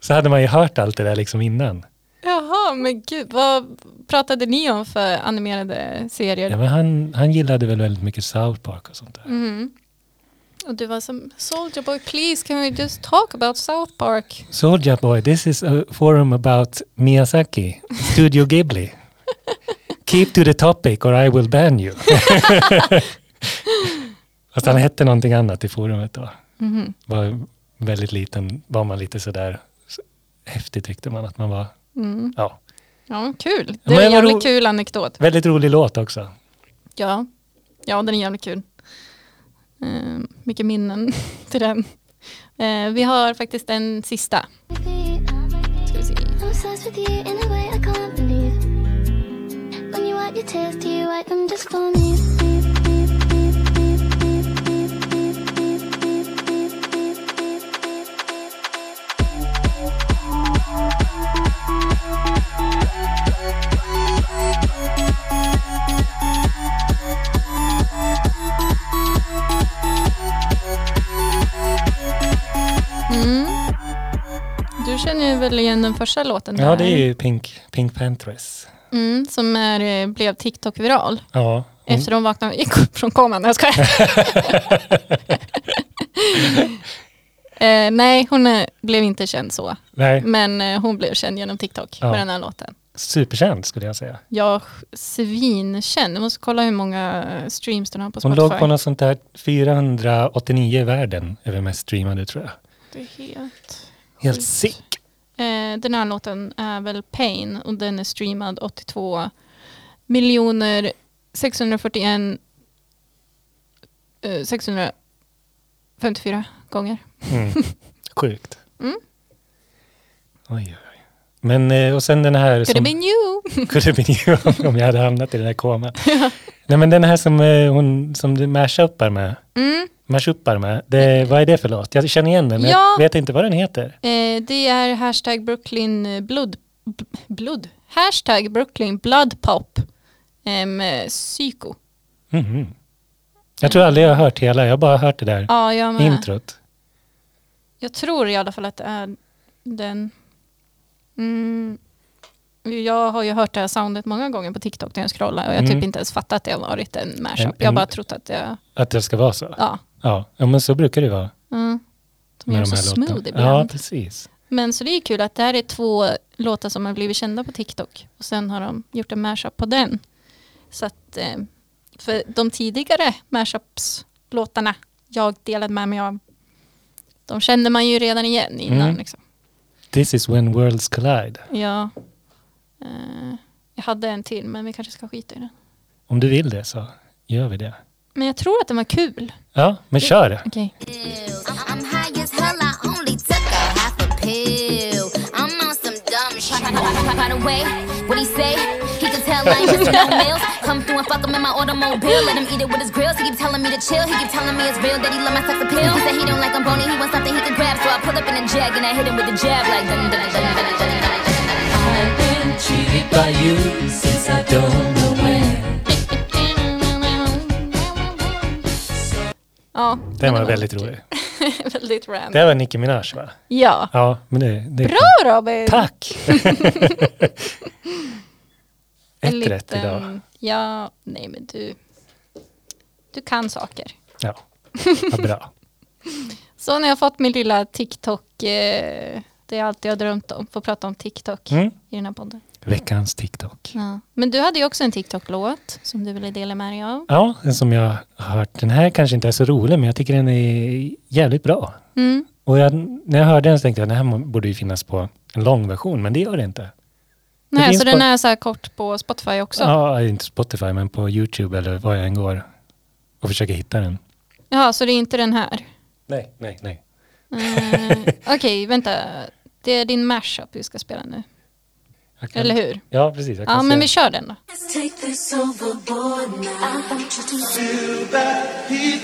[SPEAKER 2] Så hade man ju hört allt det där liksom innan.
[SPEAKER 1] Jaha, men gud, vad pratade ni om för animerade serier?
[SPEAKER 2] Ja, men han, han gillade väl väldigt mycket South Park och sånt där.
[SPEAKER 1] Och du var som Soldier Boy, please can we just talk about South Park?
[SPEAKER 2] Soulja Boy, this is a forum about Miyazaki, Studio Ghibli. Keep to the topic or I will ban you. Fast han hette någonting annat i forumet då. Var väldigt liten, var man lite sådär s- häftig tyckte man att man var. Ja.
[SPEAKER 1] Ja, kul. Det
[SPEAKER 2] Men
[SPEAKER 1] är en
[SPEAKER 2] vad
[SPEAKER 1] jävligt
[SPEAKER 2] ro-
[SPEAKER 1] kul anekdot.
[SPEAKER 2] Väldigt rolig låt också.
[SPEAKER 1] Ja, ja den är jävligt kul. Eh, mycket minnen till den. Eh, vi har faktiskt en sista.
[SPEAKER 8] With you,
[SPEAKER 1] Ska vi se.
[SPEAKER 8] I'm obsessed with you in a way I can't believe. When you wipe your tears, do you wipe them just for me?
[SPEAKER 1] Du känner ju väl igen den första låten?
[SPEAKER 2] Ja,
[SPEAKER 1] där.
[SPEAKER 2] det är ju Pink, Pink Panthers.
[SPEAKER 1] Mm, som är, eh, blev TikTok-viral.
[SPEAKER 2] Ja.
[SPEAKER 1] Efter de vaknade från koman. Nej, Jag skojar. eh, nej, hon eh, blev inte känd så.
[SPEAKER 2] Nej,
[SPEAKER 1] Men eh, hon blev känd genom TikTok
[SPEAKER 2] Ja.
[SPEAKER 1] med den här låten.
[SPEAKER 2] superkänd skulle jag säga.
[SPEAKER 1] Jag svinkänd. Jag måste kolla hur många eh, streams den har på
[SPEAKER 2] Hon
[SPEAKER 1] Spotify.
[SPEAKER 2] låg på något sånt där 489 i världen över mest streamade tror jag.
[SPEAKER 1] Det är helt...
[SPEAKER 2] Helt sick.
[SPEAKER 1] Eh, den här låten är väl Pain och den är streamad 82 miljoner 641 eh, 654 gånger.
[SPEAKER 2] Sjukt.
[SPEAKER 1] Mm.
[SPEAKER 2] Oj, oj, oj. Men eh, och sen den här
[SPEAKER 1] Could have
[SPEAKER 2] som...
[SPEAKER 1] been you.
[SPEAKER 2] Could have been you, om jag hade hamnat i den här koman. Nej men den här som eh, hon som du mashuppar med.
[SPEAKER 1] Mm.
[SPEAKER 2] Mashuppar med. Det, vad är det för låt? Jag känner igen den men
[SPEAKER 1] Ja.
[SPEAKER 2] jag vet inte vad den heter.
[SPEAKER 1] Eh, det är hashtag Brooklyn eh, blood, b- blood. Hashtag Brooklyn blood pop. Eh, med psyko.
[SPEAKER 2] Mhm. Jag tror aldrig jag har hört hela, jag har bara hört det där
[SPEAKER 1] Ja, jag med.
[SPEAKER 2] introt.
[SPEAKER 1] Jag tror i alla fall att det är den. Mm. Jag har ju hört det här soundet många gånger på TikTok när jag scrollar och jag har typ
[SPEAKER 2] Mm.
[SPEAKER 1] inte ens fattat att det har varit en mashup.
[SPEAKER 2] En-
[SPEAKER 1] Jag har
[SPEAKER 2] en-
[SPEAKER 1] bara trott att det,
[SPEAKER 2] Att det ska vara så.
[SPEAKER 1] ja.
[SPEAKER 2] Ja, ja men så brukar det vara.
[SPEAKER 1] Mm. De
[SPEAKER 2] Med
[SPEAKER 1] är
[SPEAKER 2] de
[SPEAKER 1] så
[SPEAKER 2] här
[SPEAKER 1] smooth
[SPEAKER 2] låtarna.
[SPEAKER 1] ibland.
[SPEAKER 2] Ja, precis.
[SPEAKER 1] Men så det är kul att det här är två låtar som har blivit kända på TikTok och sen har de gjort en mashup på den. Så att, eh, för de tidigare mashups-låtarna jag delade med mig av, de kände man ju redan igen innan.
[SPEAKER 2] Mm.
[SPEAKER 1] Liksom.
[SPEAKER 2] This is when worlds collide.
[SPEAKER 1] Ja. Eh, jag hade en till men vi kanske ska skita i den.
[SPEAKER 2] Om du vill det så gör vi det.
[SPEAKER 1] Men jag tror att den var kul.
[SPEAKER 2] Ja, men kör.
[SPEAKER 1] Okej.
[SPEAKER 7] I'm high as hell, I only took a half a pill. I'm on some dumb shit. By the way, what he say? He can tell I ain't just no meals. Come through and fuck him in my automobile. Let him eat it with his grills. He keep telling me to chill. He keep telling me it's real that he love my sex appeal. He said he don't like I'm bony. He wants something he can grab. So I pull up in a jag and I hit him with a jab like dun dun dun dun dun dun dun.
[SPEAKER 2] By you since I don't know when.
[SPEAKER 7] dun.
[SPEAKER 1] Ja,
[SPEAKER 2] Den
[SPEAKER 1] men
[SPEAKER 2] var väldigt rolig.
[SPEAKER 1] väldigt random.
[SPEAKER 2] Det var Nicki Minaj va?
[SPEAKER 1] Ja.
[SPEAKER 2] Ja, men det... det
[SPEAKER 1] Bra Robin!
[SPEAKER 2] Tack!
[SPEAKER 1] En
[SPEAKER 2] Ett rätt idag.
[SPEAKER 1] Ja, nej men du. Du kan saker.
[SPEAKER 2] Ja, vad bra.
[SPEAKER 1] Så när jag fått min lilla TikTok, eh, det är allt jag har drömt om, få prata om TikTok
[SPEAKER 2] Mm.
[SPEAKER 1] i den här podden.
[SPEAKER 2] Veckans TikTok.
[SPEAKER 1] Ja. Men du hade ju också en TikTok-låt som du ville dela med dig av.
[SPEAKER 2] Ja, den som jag har hört. Den här kanske inte är så rolig, men jag tycker den är jävligt bra.
[SPEAKER 1] Mm.
[SPEAKER 2] Och jag, när jag hörde den så tänkte jag, den här borde ju finnas på en lång version, men det gör det inte.
[SPEAKER 1] Nej,
[SPEAKER 2] finns
[SPEAKER 1] så den
[SPEAKER 2] på-
[SPEAKER 1] är så här kort på Spotify också? Ja,
[SPEAKER 2] Ja, inte Spotify, men på YouTube eller var jag än går och försöker hitta den.
[SPEAKER 1] så det är inte den här?
[SPEAKER 2] Nej, nej, nej.
[SPEAKER 1] Eh, Okej, vänta. Det är din mashup vi ska spela nu,
[SPEAKER 2] Jag kan-
[SPEAKER 1] eller hur?
[SPEAKER 2] Ja, precis. Jag kan
[SPEAKER 1] Ja, men
[SPEAKER 2] se.
[SPEAKER 1] vi kör den då.
[SPEAKER 6] Take this overboard now. I want you to
[SPEAKER 9] Feel that heat,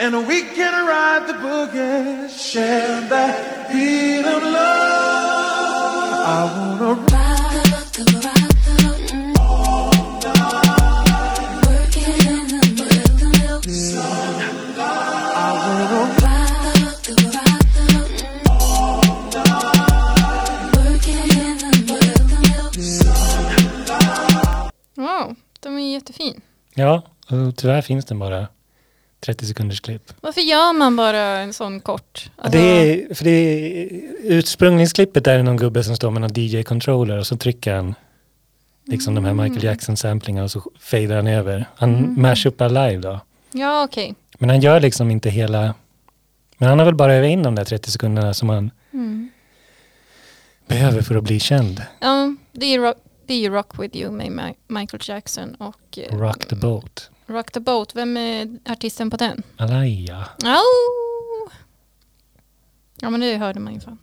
[SPEAKER 9] and we can ride the boogie. Share that heat of love. I wanna
[SPEAKER 6] rock the rock the mm. Work it in the middle, the middle. Rock the rock the mm. Work it in the middle, the middle.
[SPEAKER 1] Wow, den är jättefin.
[SPEAKER 2] Ja, och tyvärr finns den bara 30 sekunders klipp.
[SPEAKER 1] Varför gör man bara en sån kort? Alltså,
[SPEAKER 2] Det är, för det är, ursprungningsklippet är det någon gubbe som står med någon DJ-controller och så trycker han liksom de här Michael Jackson-samplingarna och så fejdar han över. Han mashupar live då.
[SPEAKER 1] Ja, okej.
[SPEAKER 2] Men han gör liksom inte hela... Men han har väl bara övat in de där 30 sekunderna som han Mm. behöver för att bli känd.
[SPEAKER 1] Ja, det är, rock, det är ju Rock With You med Ma- Michael Jackson och eh,
[SPEAKER 2] Rock the boat.
[SPEAKER 1] Rock The Boat. Vem är artisten på den?
[SPEAKER 2] Alaya.
[SPEAKER 1] Au! Ja, men nu hörde man ju fan.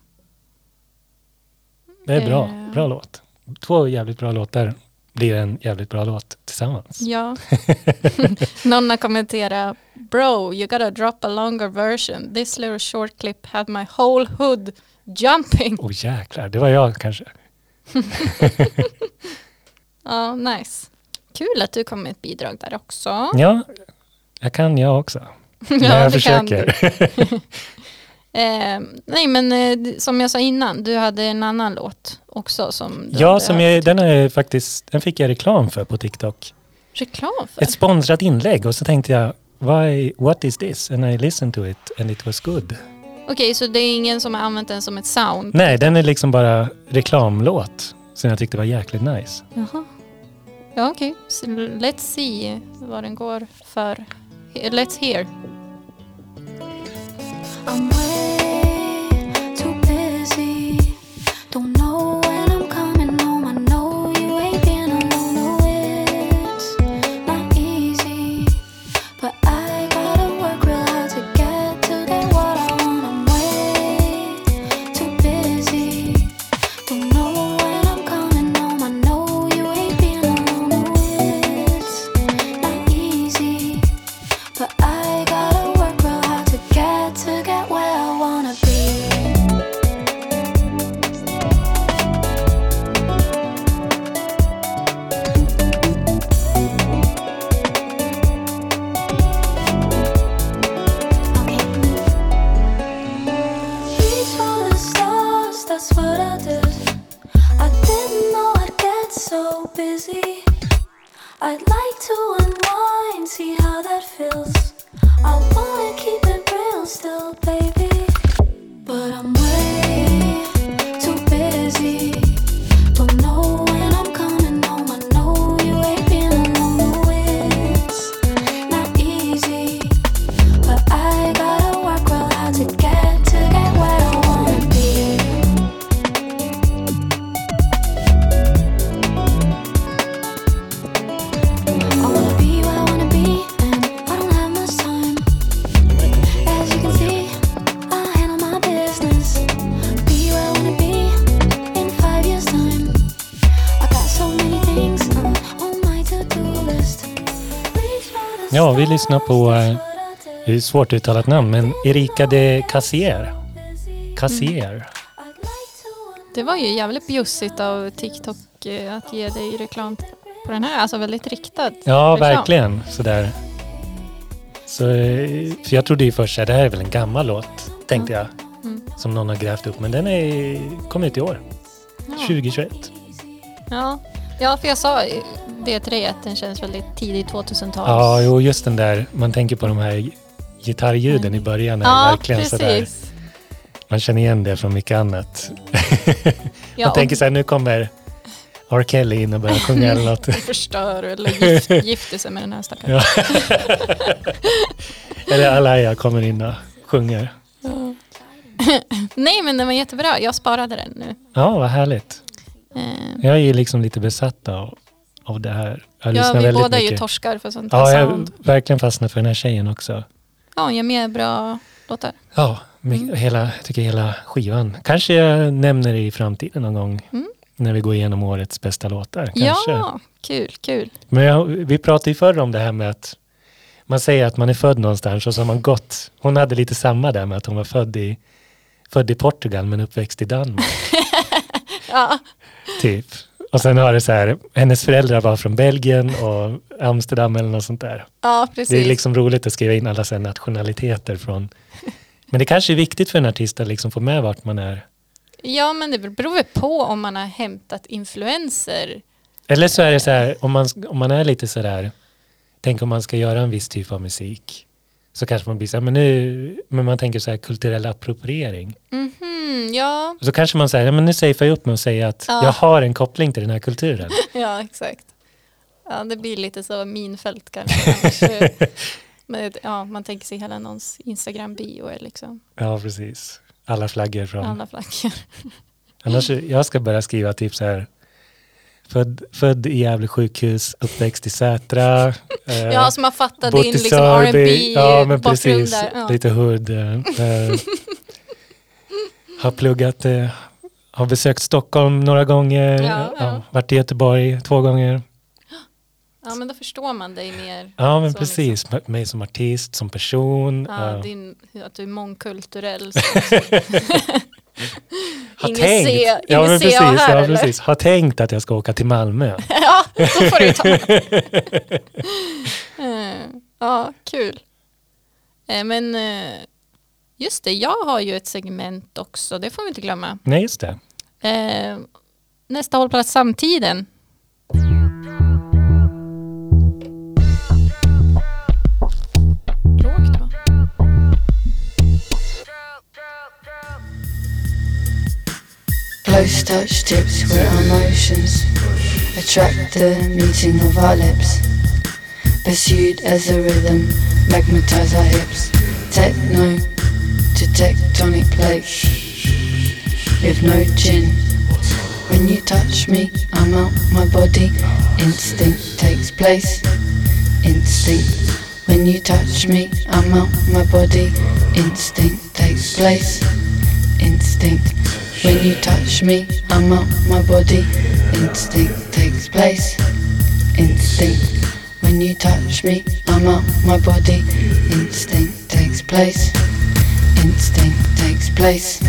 [SPEAKER 2] Det är bra.
[SPEAKER 1] Eh.
[SPEAKER 2] Bra låt. Två jävligt bra låtar blir en jävligt bra låt tillsammans.
[SPEAKER 1] Ja. Någon har kommenterat, bro, you gotta drop a longer version. This little short clip had my whole hood jumping.
[SPEAKER 2] Åh jäklar, det var jag kanske.
[SPEAKER 1] Ja, nice. Kul att du kom med ett bidrag där också.
[SPEAKER 2] Ja, jag kan jag också.
[SPEAKER 1] Ja,
[SPEAKER 2] när jag
[SPEAKER 1] det kan du.
[SPEAKER 2] försöker.
[SPEAKER 1] Eh, nej, men eh, d- som jag sa innan, du hade en annan låt också som du
[SPEAKER 2] ja,
[SPEAKER 1] hade
[SPEAKER 2] som
[SPEAKER 1] hört.
[SPEAKER 2] jag, den, är faktiskt, den fick jag reklam för på TikTok.
[SPEAKER 1] reklam för.
[SPEAKER 2] Ett sponsrat inlägg och så tänkte jag, Why, what is this? And I listened to it and it was good.
[SPEAKER 1] Okej, så det är ingen som har använt den som ett sound?
[SPEAKER 2] Nej, den är liksom bara reklamlåt som jag tyckte var jäkligt nice.
[SPEAKER 1] Jaha. Ja, okej. Så Let's see vad den går för. Eh, Let's hear.
[SPEAKER 8] I'm way too busy. Don't know when I'm coming home. I know you ain't been alone. No, it's not easy. But I gotta work real hard to get to that what I want. I'm way too busy. Don't know when I'm coming home. I know you ain't been alone. No, it's not easy. But I gotta work real hard to get to get where I wanna be. Okay. Reach for the stars, that's what I did. I didn't know I'd get so busy. I'd like to unwind, see how that feels. I wanna keep it real still, baby. But I'm way too busy. Don't know when I'm coming home. I know you ain't been alone. It's not easy. But I gotta work real hard to get to get where I wanna be. I wanna be where I wanna be, and I don't have much time. As you can see, I handle my business. Be where I wanna be in five years' time. I got so many things uh, on my to-do list. Reach for the
[SPEAKER 2] Ja, vi lyssnar på, eh,
[SPEAKER 8] stars,
[SPEAKER 2] Det är
[SPEAKER 8] that's what I did.
[SPEAKER 2] ett svårt uttalat namn, men Erika de Cassier.
[SPEAKER 1] Mm.
[SPEAKER 2] Cassier.
[SPEAKER 8] I'd like to
[SPEAKER 1] Det var ju jävligt bjussigt av TikTok eh, att ge dig reklam på den här. Alltså väldigt riktad
[SPEAKER 2] Ja,
[SPEAKER 1] reklam.
[SPEAKER 2] verkligen. Sådär. Så, eh, för jag trodde ju först att det här är väl en gammal låt, tänkte
[SPEAKER 1] Mm.
[SPEAKER 2] jag. Som någon har grävt upp, men den är, kom ut i år,
[SPEAKER 1] Ja.
[SPEAKER 2] 2021.
[SPEAKER 1] Ja. ja, för jag sa eh, det till dig att den känns väldigt tidig 2000-tals.
[SPEAKER 2] Ja, jo, just den där, man tänker på de här gitarrljuden i början. När det
[SPEAKER 1] Mm. Ja,
[SPEAKER 2] verkligen Sådär,
[SPEAKER 1] precis.
[SPEAKER 2] man känner igen det från mycket annat.
[SPEAKER 1] Ja,
[SPEAKER 2] man tänker så här, nu kommer R. Kelly in och börjar sjunga eller något.
[SPEAKER 1] och förstör eller gift, gifter sig med den här stackaren.
[SPEAKER 2] Ja. Eller Alaya kommer in och sjunger.
[SPEAKER 1] Nej, men den var jättebra. Jag sparade den nu.
[SPEAKER 2] Ja, vad härligt.
[SPEAKER 1] Eh,
[SPEAKER 2] Jag är ju liksom lite besatt av, av det här. Jag
[SPEAKER 1] ja,
[SPEAKER 2] lyssnar
[SPEAKER 1] vi
[SPEAKER 2] väldigt
[SPEAKER 1] båda är ju Alltså-
[SPEAKER 2] mycket.
[SPEAKER 1] torskar för sånt
[SPEAKER 2] Ja,
[SPEAKER 1] här
[SPEAKER 2] jag
[SPEAKER 1] sound.
[SPEAKER 2] verkligen fastnar för den här tjejen också.
[SPEAKER 1] Ja, hon gör mer bra låtar.
[SPEAKER 2] Ja, my- hela, jag tycker hela skivan. Kanske jag nämner det i framtiden någon gång. När vi går igenom årets bästa låtar. Kanske.
[SPEAKER 1] Mm. Ja, kul, kul.
[SPEAKER 2] Men jag, vi pratade ju förr om det här med att man säger att man är född någonstans och så har man gått. Hon hade lite samma där med att hon var född i, född i Portugal men uppväxt i Danmark.
[SPEAKER 1] Ja,
[SPEAKER 2] Typ. Och sen har det så här, hennes föräldrar var från Belgien och Amsterdam eller något sånt där.
[SPEAKER 1] ja precis.
[SPEAKER 2] Det är liksom roligt att skriva in alla så här nationaliteter från... Men det kanske är viktigt för en artist att liksom få med vart man är.
[SPEAKER 1] Ja, men det beror väl på om man har hämtat influenser.
[SPEAKER 2] Eller så är det så här, om man, om man är lite så där, tänk om man ska göra en viss typ av musik, så kanske man blir så här, men nu, men man tänker så här kulturell appropriering.
[SPEAKER 1] Mhm, ja,
[SPEAKER 2] Och så kanske man säger, Hmm, ja men nu safear jag upp mig och säger att
[SPEAKER 1] Ja.
[SPEAKER 2] jag har en koppling till den här kulturen.
[SPEAKER 1] ja, exakt. Ja, det blir lite så minfält kanske. Kanske. Men, ja, man tänker sig hela någons Instagram-bio är liksom
[SPEAKER 2] ja, precis. Alla flaggor från...
[SPEAKER 1] alla flaggor.
[SPEAKER 2] Annars, jag ska börja skriva typ så här, född, född i Gävle sjukhus, uppväxt i Sätra. eh,
[SPEAKER 1] Ja, så man fattar
[SPEAKER 2] bott
[SPEAKER 1] din
[SPEAKER 2] i
[SPEAKER 1] liksom
[SPEAKER 2] Sörby. Ja, men
[SPEAKER 1] R&B-bakgrund
[SPEAKER 2] precis.
[SPEAKER 1] där. Ja.
[SPEAKER 2] Lite hood. eh, eh, har pluggat, eh, har besökt Stockholm några gånger.
[SPEAKER 1] Ja, ja.
[SPEAKER 2] varit i Göteborg två gånger.
[SPEAKER 1] ja, men då förstår man dig mer.
[SPEAKER 2] Ja, men
[SPEAKER 1] Så liksom.
[SPEAKER 2] precis. M- Mig som artist, som person.
[SPEAKER 1] Ja,
[SPEAKER 2] eh,
[SPEAKER 1] din, att du är mångkulturell. Så.
[SPEAKER 2] har
[SPEAKER 1] Inget se- inget
[SPEAKER 2] ja, men
[SPEAKER 1] se och
[SPEAKER 2] precis,
[SPEAKER 1] hör,
[SPEAKER 2] ja,
[SPEAKER 1] eller?
[SPEAKER 2] precis. Har tänkt att jag ska åka till Malmö.
[SPEAKER 1] ja, då får du ta Eh, Ja, kul. Eh, Men eh, just det, jag har ju ett segment också, det får vi inte glömma.
[SPEAKER 2] Nej, just det.
[SPEAKER 1] Eh, Nästa hållplats samtiden. Lågt va?
[SPEAKER 7] Close touch tips where our motions attract the meeting of our lips. Pursued as a rhythm, magnetize our hips. Techno to tectonic plates. With no chin. When you touch me, I'm out my body. Instinct takes place. Instinct. When you touch me, I'm out my body. Instinct takes place. Instinct. When you touch me, I'm out my body. Instinct takes place. Instinct. When you touch me, I'm out my body. Instinct takes place. Instinct takes place.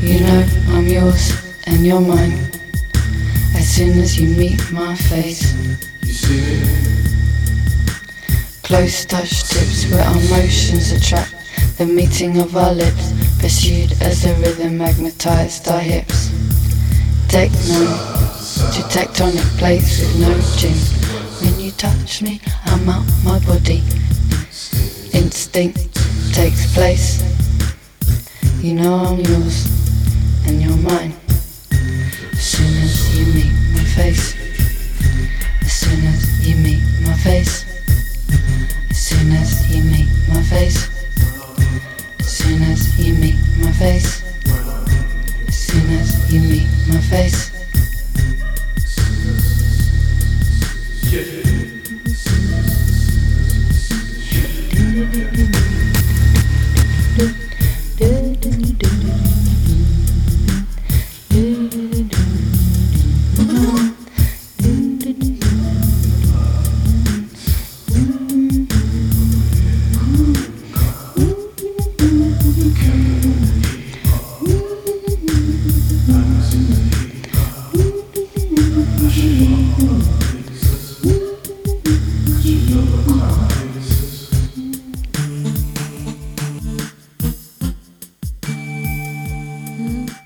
[SPEAKER 7] You know I'm yours and you're mine. As soon as you meet my face. Close touch tips where our motions attract the meeting of our lips. Pursued as the rhythm magnetized our hips. Techno to tectonic plates with no gym. When you touch me, I'm out my body. Instinct takes place. You know I'm yours and you're mine. As soon as you meet my face. As soon as you meet my face. As soon as you meet my face. As soon as you meet my face. As soon as you meet my face.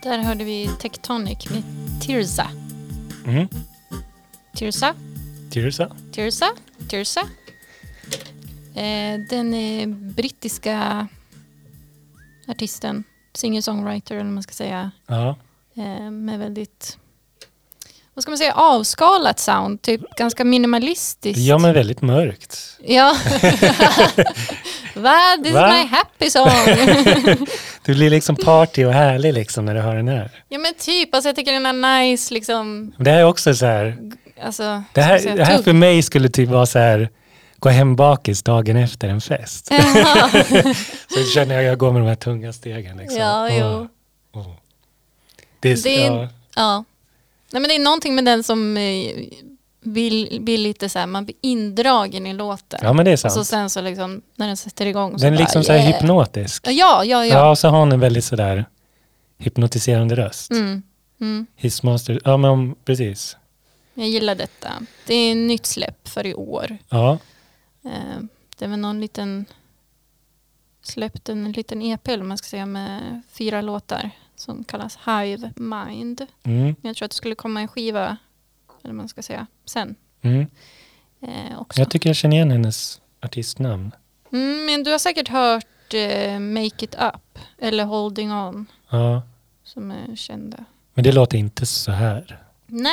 [SPEAKER 1] Där hörde vi Tectonic med Tirsa.
[SPEAKER 2] Mm.
[SPEAKER 1] Tirsa,
[SPEAKER 2] Tyrsa.
[SPEAKER 1] Tirsa, Tirsa. Eh, den eh, brittiska artisten, singer-songwriter eller vad man ska säga,
[SPEAKER 2] Ja.
[SPEAKER 1] eh, med väldigt vad ska man säga, avskalat sound, typ ganska minimalistiskt.
[SPEAKER 2] ja, men väldigt mörkt.
[SPEAKER 1] Ja. Va? This
[SPEAKER 2] Va?
[SPEAKER 1] is my happy song.
[SPEAKER 2] Du blir liksom party och härlig liksom när du hör den här.
[SPEAKER 1] ja men typ, alltså jag tycker den är nice liksom.
[SPEAKER 2] Men Det här är också så här,
[SPEAKER 1] Alltså, ska
[SPEAKER 2] det här,
[SPEAKER 1] jag
[SPEAKER 2] det här
[SPEAKER 1] säga,
[SPEAKER 2] för mig skulle typ vara så här, gå hem bakis dagen efter en fest. liksom. så känner jag, jag går med de här tunga stegen liksom.
[SPEAKER 1] Ja,
[SPEAKER 2] Åh,
[SPEAKER 1] jo.
[SPEAKER 2] åh. Det är,
[SPEAKER 1] Det är-
[SPEAKER 2] ja,
[SPEAKER 1] Ja. Nej men det är någonting med den som eh, vill, blir lite så här, man blir indragen i låten.
[SPEAKER 2] ja, men det är
[SPEAKER 1] och så
[SPEAKER 2] sant.
[SPEAKER 1] sen så liksom, när den sätter igång så
[SPEAKER 2] Den är
[SPEAKER 1] bara,
[SPEAKER 2] liksom så här
[SPEAKER 1] yeah.
[SPEAKER 2] hypnotisk.
[SPEAKER 1] Ja, ja, ja.
[SPEAKER 2] Ja, och så har hon en väldigt sådär hypnotiserande röst.
[SPEAKER 1] Mm. Mm.
[SPEAKER 2] His monster, ja men om- precis.
[SPEAKER 1] Jag gillar detta. Det är nytt släpp för i år.
[SPEAKER 2] Ja,
[SPEAKER 1] Eh, det var någon liten släppt en liten EP eller vad man ska säga med fyra låtar som kallas Hive Mind.
[SPEAKER 2] mm,
[SPEAKER 1] Jag tror att det skulle komma en skiva eller vad man ska säga sen
[SPEAKER 2] mm.
[SPEAKER 1] eh, också.
[SPEAKER 2] Jag tycker jag känner igen hennes artistnamn.
[SPEAKER 1] mm, men du har säkert hört eh, Make It Up eller Holding On
[SPEAKER 2] Ja,
[SPEAKER 1] som är kända.
[SPEAKER 2] men det låter inte så här.
[SPEAKER 1] Nej,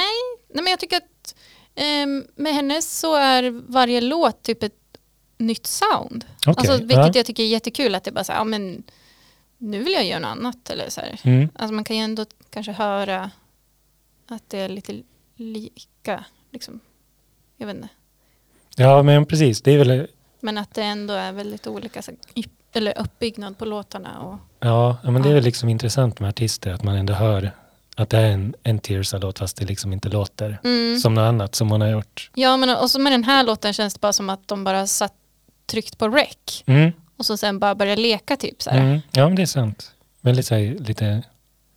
[SPEAKER 1] nej men jag tycker att eh, med henne så är varje låt typ ett nytt sound.
[SPEAKER 2] Okej,
[SPEAKER 1] alltså, vilket
[SPEAKER 2] ja.
[SPEAKER 1] jag tycker är jättekul att det är bara så här, ja men nu vill jag göra något annat eller så här.
[SPEAKER 2] Mm.
[SPEAKER 1] Alltså man kan ju ändå kanske höra att det är lite lika, liksom. Jag vet inte.
[SPEAKER 2] Ja, men precis. Det är väl,
[SPEAKER 1] Men att det ändå är väldigt olika så, här, yp- eller uppbyggnad på låtarna. Och,
[SPEAKER 2] ja, ja, men det är
[SPEAKER 1] Ja.
[SPEAKER 2] väl liksom intressant med artister att man ändå hör att det är en, en Tears-låt fast det liksom inte låter
[SPEAKER 1] Mm.
[SPEAKER 2] som något annat som hon har gjort.
[SPEAKER 1] ja, men och så med den här låten känns det bara som att de bara satt tryckt på rec
[SPEAKER 2] Mm,
[SPEAKER 1] och så sen bara började leka typ så här.
[SPEAKER 2] mm. Ja, men det är sant. Väldigt så här, lite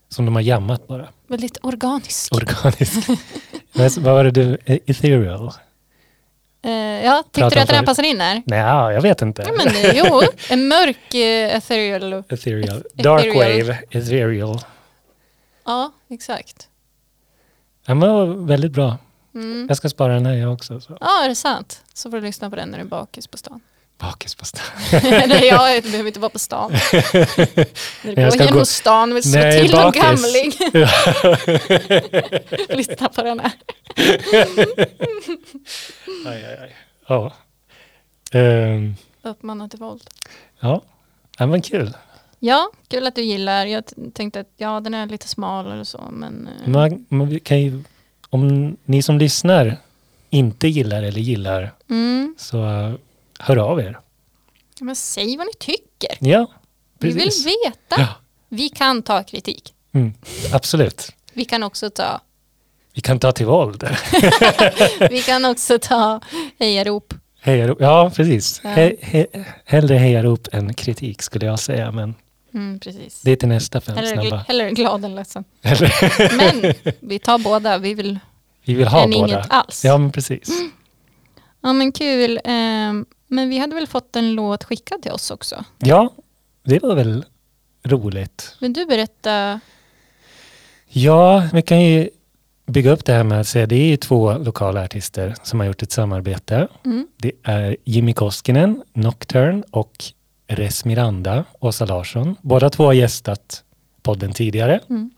[SPEAKER 2] som de har jammat bara.
[SPEAKER 1] Väldigt organiskt.
[SPEAKER 2] Organiskt. Men så- Vad var det du, e- ethereal?
[SPEAKER 1] Eh, ja, tyckte
[SPEAKER 2] Pratar
[SPEAKER 1] du att den här
[SPEAKER 2] för-
[SPEAKER 1] passade in här?
[SPEAKER 2] Nej, ja, jag vet inte.
[SPEAKER 1] Ja, men eh, jo, en mörk eh, ethereal.
[SPEAKER 2] Ethereal.
[SPEAKER 1] Eth-
[SPEAKER 2] Dark
[SPEAKER 1] ethereal.
[SPEAKER 2] wave, ethereal.
[SPEAKER 1] Ja, exakt.
[SPEAKER 2] Den var väldigt bra.
[SPEAKER 1] Mm.
[SPEAKER 2] Jag ska spara den här jag också. Så.
[SPEAKER 1] Ja, är det sant? Så får du lyssna på den när du är bakis på stan.
[SPEAKER 2] Bakis på stan.
[SPEAKER 1] Eller ja, jag behöver inte vara på stan. När du går
[SPEAKER 2] jag ska
[SPEAKER 1] genom
[SPEAKER 2] gå-
[SPEAKER 1] stan vill slå
[SPEAKER 2] Nej,
[SPEAKER 1] till någon
[SPEAKER 2] bakis.
[SPEAKER 1] gamling. lyssna på den här.
[SPEAKER 2] Aj, aj, aj. Ja. Ehm,
[SPEAKER 1] Uppmana till våld.
[SPEAKER 2] ja, den var kul.
[SPEAKER 1] Ja, kul att du gillar. Jag t- tänkte att ja, den är lite smal eller så, men... eh,
[SPEAKER 2] Man, man vi kan ju, om ni som lyssnar inte gillar eller gillar
[SPEAKER 1] Mm,
[SPEAKER 2] så eh, hör av er.
[SPEAKER 1] men säg vad ni tycker.
[SPEAKER 2] Ja,
[SPEAKER 1] Vi vill
[SPEAKER 2] precis.
[SPEAKER 1] veta.
[SPEAKER 2] Ja.
[SPEAKER 1] Vi kan ta kritik.
[SPEAKER 2] Mm, absolut.
[SPEAKER 1] Vi kan också ta,
[SPEAKER 2] Vi kan ta till våld.
[SPEAKER 1] vi kan också ta hejarop.
[SPEAKER 2] Hejarop. Ja, precis. He, he, hellre hejarop än kritik skulle jag säga, men
[SPEAKER 1] Mm, precis.
[SPEAKER 2] det är till nästa fem
[SPEAKER 1] Hellre,
[SPEAKER 2] snabba.
[SPEAKER 1] hellre glad än ledsen. Men vi tar båda. Vi vill...
[SPEAKER 2] Vi vill ha
[SPEAKER 1] än
[SPEAKER 2] båda.
[SPEAKER 1] inget alls. Mm.
[SPEAKER 2] Ja, men precis.
[SPEAKER 1] Ja men kul. Ehm, Men vi hade väl fått en låt skickad till oss också.
[SPEAKER 2] Ja, det var väl roligt.
[SPEAKER 1] Vill du berätta?
[SPEAKER 2] Ja, vi kan ju bygga upp det här med att säga det är ju två lokala artister som har gjort ett samarbete.
[SPEAKER 1] Mm.
[SPEAKER 2] Det är Jimmy Koskinen, Nocturne och Res Miranda, Åsa Larsson. Båda två har gästat podden tidigare.
[SPEAKER 1] Mm.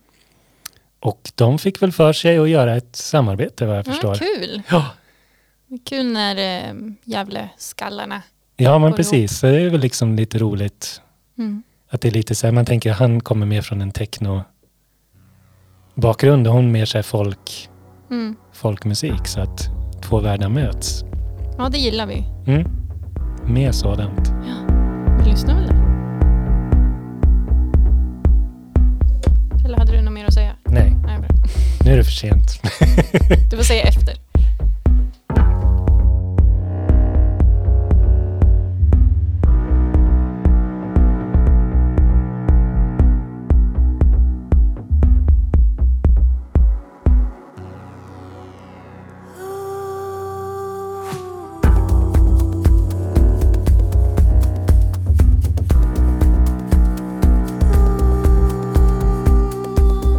[SPEAKER 2] Och de fick väl för sig att göra ett samarbete vad jag
[SPEAKER 1] Ja,
[SPEAKER 2] förstår.
[SPEAKER 1] kul.
[SPEAKER 2] Ja,
[SPEAKER 1] Det är Kul när ehm, Gävle-skallarna.
[SPEAKER 2] ja men
[SPEAKER 1] Och
[SPEAKER 2] precis. Så det är väl liksom lite roligt
[SPEAKER 1] Mm.
[SPEAKER 2] Att det är lite så här, man tänker han kommer mer från en techno bakgrund och hon mer så här folk,
[SPEAKER 1] Mm.
[SPEAKER 2] folkmusik så att två världar möts.
[SPEAKER 1] Ja det gillar vi.
[SPEAKER 2] Mm. Mer sådant.
[SPEAKER 1] Vi lyssnar väl där. Eller hade du något mer att säga?
[SPEAKER 2] Nej,
[SPEAKER 1] Nej, bra.
[SPEAKER 2] nu är det för sent.
[SPEAKER 1] Du får säga efter.
[SPEAKER 6] Ooh,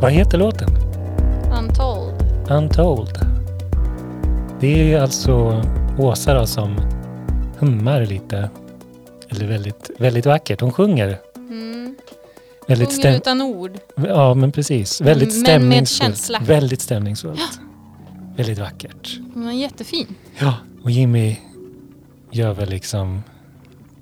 [SPEAKER 2] Vad heter låten?
[SPEAKER 1] Untold.
[SPEAKER 2] Untold. Det är alltså Åsa då som hummar lite. Eller väldigt, väldigt vackert. Hon sjunger.
[SPEAKER 1] Mm.
[SPEAKER 2] Väldigt
[SPEAKER 1] Sjunger
[SPEAKER 2] stäm-
[SPEAKER 1] utan ord.
[SPEAKER 2] ja, men precis. Väldigt
[SPEAKER 1] Men med
[SPEAKER 2] stämningsfullt.
[SPEAKER 1] känsla.
[SPEAKER 2] Väldigt stämningsfullt. Väldigt vackert.
[SPEAKER 1] Hon är jättefin.
[SPEAKER 2] Ja, och Jimmy gör väl liksom...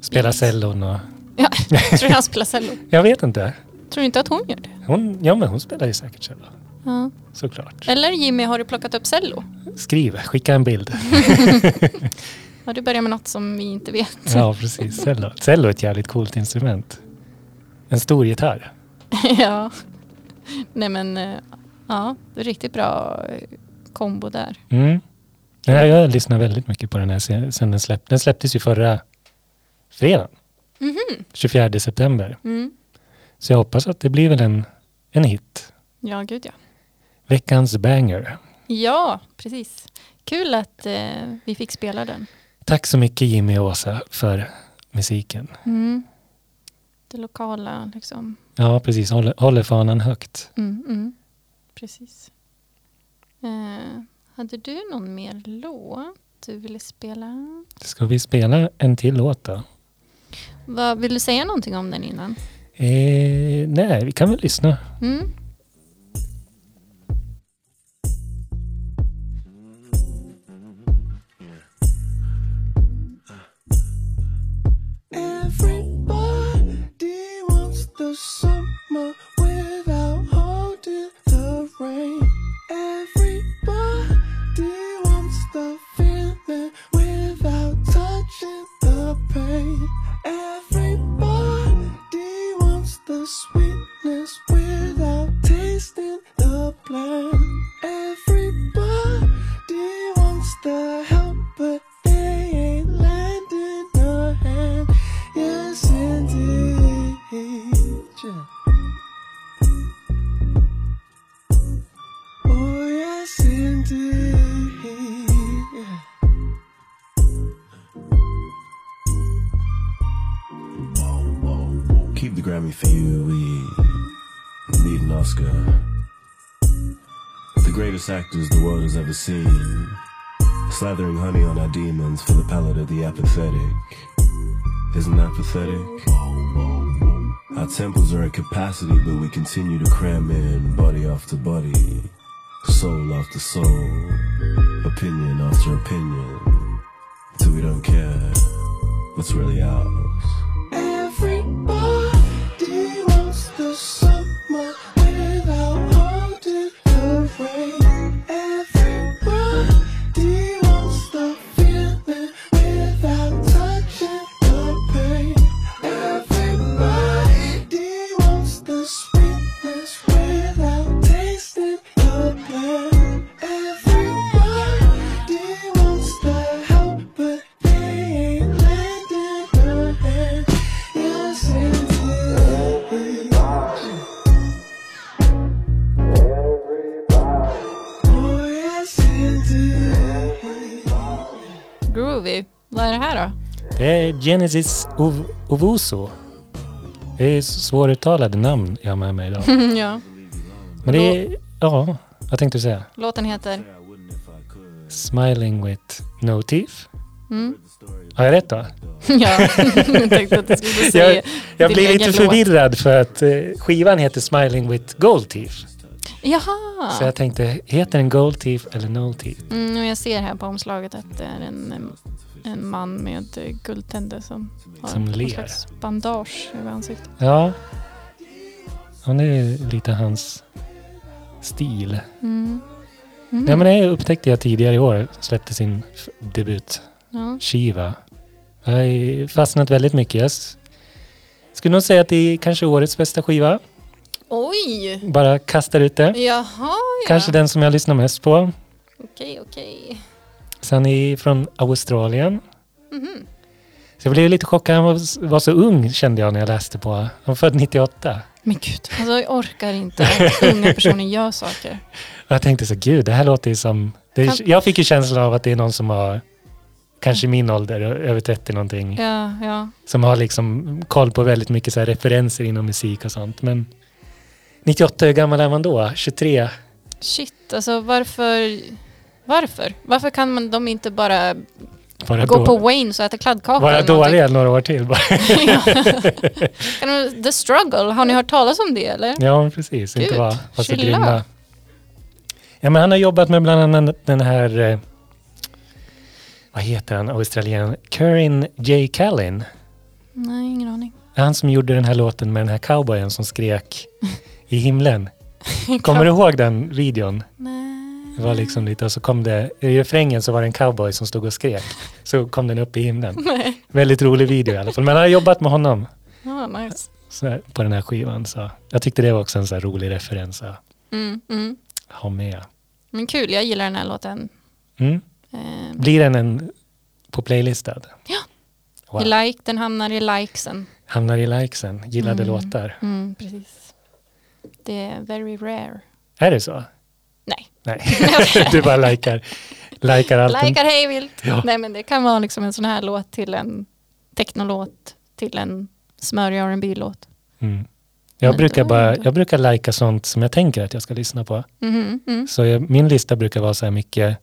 [SPEAKER 2] Spelar
[SPEAKER 1] Yes.
[SPEAKER 2] cellon och...
[SPEAKER 1] Ja, jag tror han spelar cello.
[SPEAKER 2] Jag vet inte.
[SPEAKER 1] Tror du inte att hon gör det?
[SPEAKER 2] Hon, ja, men hon spelar ju säkert cello.
[SPEAKER 1] Ja.
[SPEAKER 2] Såklart.
[SPEAKER 1] Eller Jimmy, har du plockat upp cello?
[SPEAKER 2] Skriv, skicka en bild.
[SPEAKER 1] Har du börjat med något som vi inte vet?
[SPEAKER 2] Ja, precis. Cello. Cello är ett jävligt coolt instrument. En stor gitarr.
[SPEAKER 1] ja. Nej men, eh, ja, det är riktigt bra eh, kombo där.
[SPEAKER 2] Mm. Nej, jag lyssnar väldigt mycket på den här se- sen den, släpp, den släpptes ju förra fredagen. 24 september.
[SPEAKER 1] Mm.
[SPEAKER 2] Så jag hoppas att det blir väl en, en hit.
[SPEAKER 1] Ja, gud ja.
[SPEAKER 2] Veckans banger.
[SPEAKER 1] Ja, precis. Kul att eh, vi fick spela den.
[SPEAKER 2] Tack så mycket Jimmy och Åsa för musiken.
[SPEAKER 1] Mm. Det lokala liksom.
[SPEAKER 2] Ja, precis. Håller, håller fanan högt.
[SPEAKER 1] Mm, mm. Precis. Eh, hade du någon mer låt du ville spela?
[SPEAKER 2] Ska vi spela en till låt då?
[SPEAKER 1] Vad, vill du säga någonting om den innan?
[SPEAKER 2] Eh, nej, vi kan väl lyssna.
[SPEAKER 1] Mm.
[SPEAKER 9] Everybody wants the summer without holding the rain. Everybody wants the feeling without touching the pain. Everybody wants the sweetness without tasting the plan. Everybody wants the help, but they ain't lending a hand. Yes, indeed. Yeah. Oh, yes, indeed. Yeah.
[SPEAKER 10] Keep the Grammy for you. We need an Oscar. The greatest actors the world has ever seen. Slathering honey on our demons for the palate of the apathetic. Isn't that pathetic? Our temples are at capacity, but we continue to cram in body after body, soul after soul, opinion after opinion, till we don't care what's really ours.
[SPEAKER 9] Everybody wants the summer without holding the rain. Everybody wants the feeling without touching the pain. Everybody wants the sweetness without tasting the pain. Everybody wants the help, but they ain't lending a hand. Yes, indeed. Oh, yes, indeed.
[SPEAKER 1] Groovy. Vad är det här då?
[SPEAKER 2] Det är Genesis Ov- Ovuso. Det är svåruttalade namn jag har med mig idag.
[SPEAKER 1] ja.
[SPEAKER 2] Men det är, ja, vad tänkte du säga?
[SPEAKER 1] Låten heter?
[SPEAKER 2] Smiling with no teeth.
[SPEAKER 1] Mm.
[SPEAKER 2] Har jag rätt då?
[SPEAKER 1] ja, jag tänkte att du skulle säga
[SPEAKER 2] Jag, jag
[SPEAKER 1] din
[SPEAKER 2] blir
[SPEAKER 1] egen
[SPEAKER 2] lite
[SPEAKER 1] låt.
[SPEAKER 2] förvirrad för att eh, skivan heter Smiling with gold teeth.
[SPEAKER 1] Jaha!
[SPEAKER 2] Så jag tänkte, heter den gold teeth eller no teeth?
[SPEAKER 1] Mm, och jag ser här på omslaget att det är en, em, en man med eh, guldtänder som har
[SPEAKER 2] Som
[SPEAKER 1] någon
[SPEAKER 2] ler.
[SPEAKER 1] slags bandage över ansiktet.
[SPEAKER 2] Ja. ja, det är lite hans stil.
[SPEAKER 1] Mm. Mm.
[SPEAKER 2] Nej, men det upptäckte jag tidigare i år, släppte sin f- debut.
[SPEAKER 1] ja.
[SPEAKER 2] Shiva. Jag har ju fastnat väldigt mycket. Jag s- skulle nog säga att det är kanske årets bästa skiva.
[SPEAKER 1] Oj!
[SPEAKER 2] Bara kastar ut det.
[SPEAKER 1] Jaha, ja.
[SPEAKER 2] Kanske den som jag lyssnar mest på.
[SPEAKER 1] Okej, okej.
[SPEAKER 2] Så han är från Australien.
[SPEAKER 1] Mhm.
[SPEAKER 2] Så jag blev lite chockad. Han var, s- var så ung kände jag när jag läste på. Han var född 98.
[SPEAKER 1] Men gud, alltså jag orkar inte att unga personer gör saker.
[SPEAKER 2] Och jag tänkte så gud, det här låter ju som... Det
[SPEAKER 1] Kan- Mm.
[SPEAKER 2] är, jag fick ju känslan av att det är någon som har kanske min ålder, ö- över 30 någonting.
[SPEAKER 1] Ja, ja.
[SPEAKER 2] som har liksom koll på väldigt mycket så här referenser inom musik och sånt. Men 98, hur gammal är man då? 23?
[SPEAKER 1] Shit, alltså varför? Varför? Varför kan man de inte bara
[SPEAKER 2] Bara
[SPEAKER 1] gå
[SPEAKER 2] då,
[SPEAKER 1] på Waynes och äta kladdkaka?
[SPEAKER 2] bara
[SPEAKER 1] eller någonting?
[SPEAKER 2] dåliga några år till bara.
[SPEAKER 1] Ja. Kan de- The struggle, har ni hört talas om det eller?
[SPEAKER 2] Ja, men precis. Inte
[SPEAKER 1] Gud,
[SPEAKER 2] vara vara så
[SPEAKER 1] chilla.
[SPEAKER 2] grymma. Ja, men han har jobbat med bland annat den här, eh, vad heter han, australienaren? Corin J. Callin.
[SPEAKER 1] Nej, ingen aning.
[SPEAKER 2] Det är Han som gjorde den här låten med den här cowboyen som skrek i himlen. Kommer du ihåg den videon?
[SPEAKER 1] Nej.
[SPEAKER 2] Det var liksom lite, och så kom det, i refrängen så var det en cowboy som stod och skrek. Så kom den upp i himlen.
[SPEAKER 1] Nej.
[SPEAKER 2] Väldigt rolig video i alla fall. Men han har jobbat med honom
[SPEAKER 1] Ja, nice.
[SPEAKER 2] så här, på den här skivan. Så jag tyckte det var också en så här rolig referens att
[SPEAKER 1] Mm, mm.
[SPEAKER 2] ha med.
[SPEAKER 1] Men kul, jag gillar den här låten.
[SPEAKER 2] Mm.
[SPEAKER 1] Eh,
[SPEAKER 2] Blir den en på playlistad?
[SPEAKER 1] Ja.
[SPEAKER 2] Wow.
[SPEAKER 1] I like, den hamnar i likesen.
[SPEAKER 2] Hamnar i likesen, gillade
[SPEAKER 1] Mm.
[SPEAKER 2] låtar.
[SPEAKER 1] Mm, precis. Det är very rare.
[SPEAKER 2] Är det så?
[SPEAKER 1] Nej,
[SPEAKER 2] Nej, du bara likar, likar allt.
[SPEAKER 1] likar hej vilt.
[SPEAKER 2] Ja.
[SPEAKER 1] Nej men det kan vara liksom en sån här låt till en technolåt, till en smörig rb låt
[SPEAKER 2] Mm. Jag,
[SPEAKER 1] Men
[SPEAKER 2] brukar
[SPEAKER 1] då-
[SPEAKER 2] bara, jag brukar lika sånt som jag tänker att jag ska lyssna på.
[SPEAKER 1] Mhm, mm.
[SPEAKER 2] Så jag, min lista brukar vara så här mycket,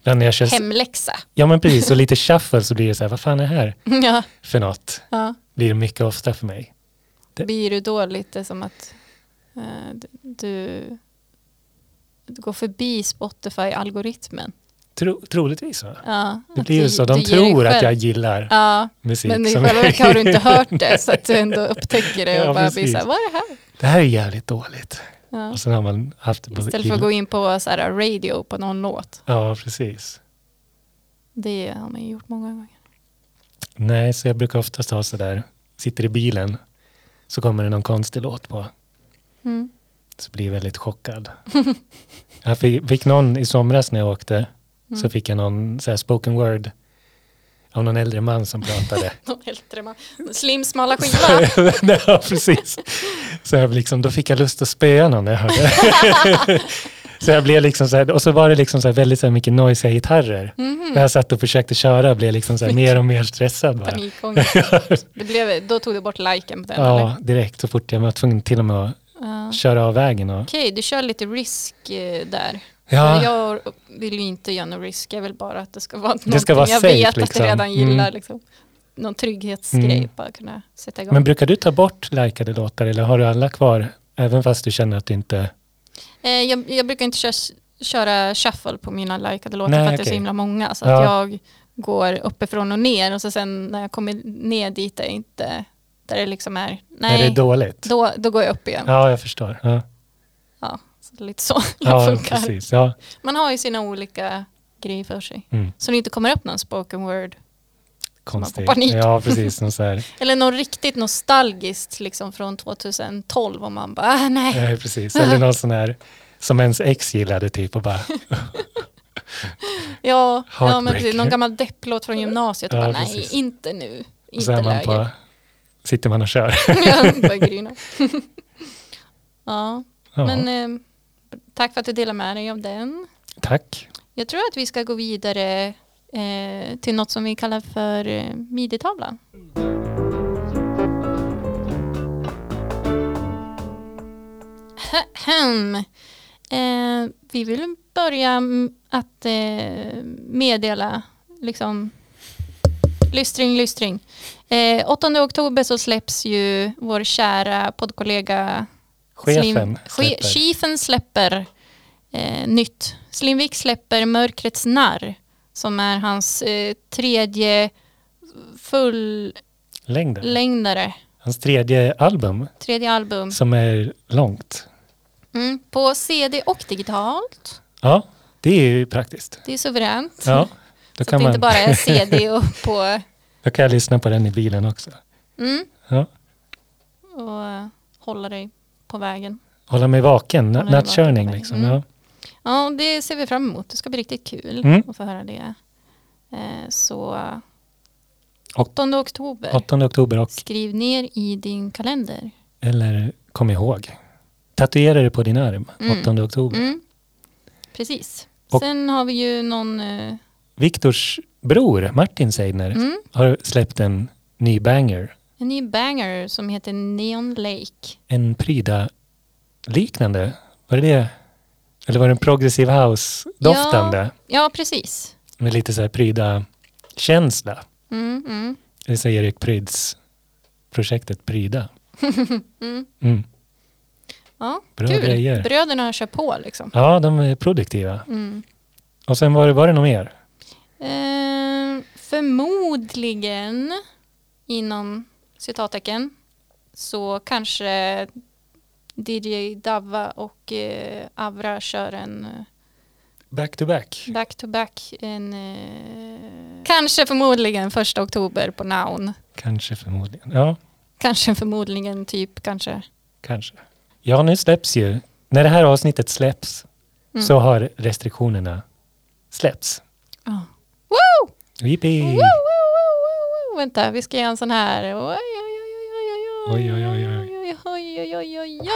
[SPEAKER 2] ibland när jag kör,
[SPEAKER 1] Hemläxa.
[SPEAKER 2] ja men precis, och lite shuffle så blir det så här, vad fan är det här
[SPEAKER 1] ja,
[SPEAKER 2] för något?
[SPEAKER 1] ja.
[SPEAKER 2] Blir det mycket ofta för mig. Det-
[SPEAKER 1] Blir du då lite som att eh, d- du, du går förbi Spotify-algoritmen?
[SPEAKER 2] Tro, troligtvis så.
[SPEAKER 1] Ja,
[SPEAKER 2] Det
[SPEAKER 1] att
[SPEAKER 2] blir ju
[SPEAKER 1] du-
[SPEAKER 2] så,
[SPEAKER 1] du
[SPEAKER 2] de
[SPEAKER 1] ger dig
[SPEAKER 2] tror att
[SPEAKER 1] själv-
[SPEAKER 2] jag gillar
[SPEAKER 1] Ja,
[SPEAKER 2] musik.
[SPEAKER 1] men i
[SPEAKER 2] som-
[SPEAKER 1] själva verket har du inte hört det så att du ändå upptäcker det och
[SPEAKER 2] Ja,
[SPEAKER 1] bara blir
[SPEAKER 2] precis.
[SPEAKER 1] så här, vad är det här?
[SPEAKER 2] det här är jävligt dåligt.
[SPEAKER 1] Ja.
[SPEAKER 2] Och sen har man haft det på
[SPEAKER 1] Istället för att gå in på så här, radio på någon låt.
[SPEAKER 2] Ja, precis.
[SPEAKER 1] Det har man ju gjort många gånger.
[SPEAKER 2] Nej, så jag brukar oftast ha sådär, sitter i bilen, så kommer det någon konstig låt på.
[SPEAKER 1] Mm.
[SPEAKER 2] Så blir jag väldigt chockad. jag fick, fick någon i somras när jag åkte, så fick jag någon såhär, spoken word av någon äldre man som pratade.
[SPEAKER 1] Någon äldre man. Slim smala skiva.
[SPEAKER 2] ja, precis. Så jag liksom, då fick jag lust att spöa någon när jag hörde. så jag blev liksom så här, och så var det liksom så här väldigt så här mycket noisiga gitarrer. När jag satt och försökte köra blev jag liksom så här mer och mer stressad bara.
[SPEAKER 1] Panikångest. Det blev, då tog du bort liken på den eller?
[SPEAKER 2] Ja, direkt så fort jag var tvungen till och med att
[SPEAKER 1] Ja.
[SPEAKER 2] köra av vägen. Och,
[SPEAKER 1] Okej, du kör lite risk eh, där.
[SPEAKER 2] ja,
[SPEAKER 1] Jag vill ju inte göra någon risk, jag vill bara att det ska vara någonting
[SPEAKER 2] Det ska vara
[SPEAKER 1] jag
[SPEAKER 2] safe,
[SPEAKER 1] vet att
[SPEAKER 2] liksom.
[SPEAKER 1] jag redan gillar.
[SPEAKER 2] Mm.
[SPEAKER 1] Liksom. Någon trygghetsgrej,
[SPEAKER 2] Mm.
[SPEAKER 1] bara kunna sätta igång.
[SPEAKER 2] men brukar du ta bort likade låtar eller har du alla kvar? Även fast du känner att du inte...
[SPEAKER 1] Eh, jag, jag brukar inte köra, köra shuffle på mina likade låtar
[SPEAKER 2] Nej,
[SPEAKER 1] för att det är så
[SPEAKER 2] okej.
[SPEAKER 1] himla många. Så
[SPEAKER 2] Ja.
[SPEAKER 1] att jag går uppifrån och ner och så sen när jag kommer ner dit är inte, där det liksom är,
[SPEAKER 2] När det
[SPEAKER 1] nej,
[SPEAKER 2] är dåligt?
[SPEAKER 1] då, då går jag upp igen. Ja.
[SPEAKER 2] Ja, jag förstår. Ja,
[SPEAKER 1] så det är lite så det
[SPEAKER 2] ja
[SPEAKER 1] funkar.
[SPEAKER 2] precis. Ja.
[SPEAKER 1] Man har ju sina olika grejer för sig.
[SPEAKER 2] Mm.
[SPEAKER 1] Så det inte kommer upp någon spoken word.
[SPEAKER 2] Konstigt.
[SPEAKER 1] panik.
[SPEAKER 2] Ja, precis. Som så här.
[SPEAKER 1] Eller något riktigt nostalgiskt liksom från 2012 och man bara, ah, nej.
[SPEAKER 2] Nej, precis. Eller någon sån här som ens ex gillade typ och bara...
[SPEAKER 1] Ja, ja men precis,
[SPEAKER 2] Heartbreaker.
[SPEAKER 1] någon gammal depplåt från gymnasiet. Och
[SPEAKER 2] Ja,
[SPEAKER 1] bara, nej,
[SPEAKER 2] precis.
[SPEAKER 1] inte nu.
[SPEAKER 2] Och
[SPEAKER 1] Inte
[SPEAKER 2] så är man
[SPEAKER 1] läge.
[SPEAKER 2] på, sitter man och kör.
[SPEAKER 1] Jag börjar grina. ja,
[SPEAKER 2] Ja,
[SPEAKER 1] men eh, tack för att du delar med dig av den.
[SPEAKER 2] tack.
[SPEAKER 1] Jag tror att vi ska gå vidare eh, till något som vi kallar för eh, midjetavlan. Ahem. Eh, vi vill börja m- att eh, meddela liksom lystring, lystring. Eh, 8 oktober så släpps ju vår kära poddkollega
[SPEAKER 2] Chefen
[SPEAKER 1] che,
[SPEAKER 2] släpper.
[SPEAKER 1] Chefen släpper eh, nytt. Slimvik släpper Mörkrets narr som är hans eh, tredje fullängdare.
[SPEAKER 2] Längden. Hans tredje album
[SPEAKER 1] Tredje album.
[SPEAKER 2] som är långt.
[SPEAKER 1] Mm, på CD och digitalt.
[SPEAKER 2] Ja, det är ju praktiskt.
[SPEAKER 1] Det är suveränt.
[SPEAKER 2] Ja, då,
[SPEAKER 1] Mm. Så att
[SPEAKER 2] kan
[SPEAKER 1] det inte
[SPEAKER 2] man,
[SPEAKER 1] bara är CD och på
[SPEAKER 2] då kan jag lyssna på den i bilen också.
[SPEAKER 1] Mm.
[SPEAKER 2] Ja.
[SPEAKER 1] och eh, hålla dig på vägen.
[SPEAKER 2] Hålla mig vaken, na-
[SPEAKER 1] Hålla dig
[SPEAKER 2] nattkörning
[SPEAKER 1] vaken.
[SPEAKER 2] liksom.
[SPEAKER 1] Mm.
[SPEAKER 2] Ja.
[SPEAKER 1] Ja, det ser vi fram emot. Det ska bli riktigt kul
[SPEAKER 2] Mm.
[SPEAKER 1] att få höra det. Eh, Så
[SPEAKER 2] Och-
[SPEAKER 1] 8 oktober.
[SPEAKER 2] 8 oktober och,
[SPEAKER 1] Skriv ner i din kalender.
[SPEAKER 2] eller kom ihåg, tatuera det på din arm
[SPEAKER 1] Mm.
[SPEAKER 2] 8 oktober.
[SPEAKER 1] Mm. Precis.
[SPEAKER 2] Och-
[SPEAKER 1] Sen har vi ju någon... eh,
[SPEAKER 2] Viktors bror Martin Seidner
[SPEAKER 1] Mm.
[SPEAKER 2] har släppt en ny banger,
[SPEAKER 1] En ny banger som heter Neon Lake.
[SPEAKER 2] en pryda liknande? Var det det? Eller var det en progressiv house-doftande?
[SPEAKER 1] Ja, precis.
[SPEAKER 2] Med lite så här pryda-känsla.
[SPEAKER 1] Mm, mm.
[SPEAKER 2] Det är så Erik Pryds, projektet Pryda. Mm.
[SPEAKER 1] Ja,
[SPEAKER 2] Bra
[SPEAKER 1] kul.
[SPEAKER 2] grejer.
[SPEAKER 1] Bröderna kör på liksom.
[SPEAKER 2] Ja, de är produktiva.
[SPEAKER 1] Mm.
[SPEAKER 2] Och sen var det, var det något mer?
[SPEAKER 1] Eh, förmodligen, inom citattecken, så kanske DJ Dava och eh, Avra kör en eh,
[SPEAKER 2] Back to back.
[SPEAKER 1] back to back. En, eh, kanske förmodligen första oktober på Noun.
[SPEAKER 2] Kanske förmodligen. Ja,
[SPEAKER 1] Kanske förmodligen typ kanske.
[SPEAKER 2] kanske. Ja, nu släpps ju. När det här avsnittet släpps
[SPEAKER 1] Mm.
[SPEAKER 2] så har restriktionerna släppts.
[SPEAKER 1] Ja. Woo!
[SPEAKER 2] Jippi!
[SPEAKER 1] Woo, woo, woo, woo, woo. Vänta, vi ska göra en sån här. Oj, oj, oj, oj, oj, oj,
[SPEAKER 2] Oj, oj, oj, oj.
[SPEAKER 1] oj, oj, oj, oj, oj, oj.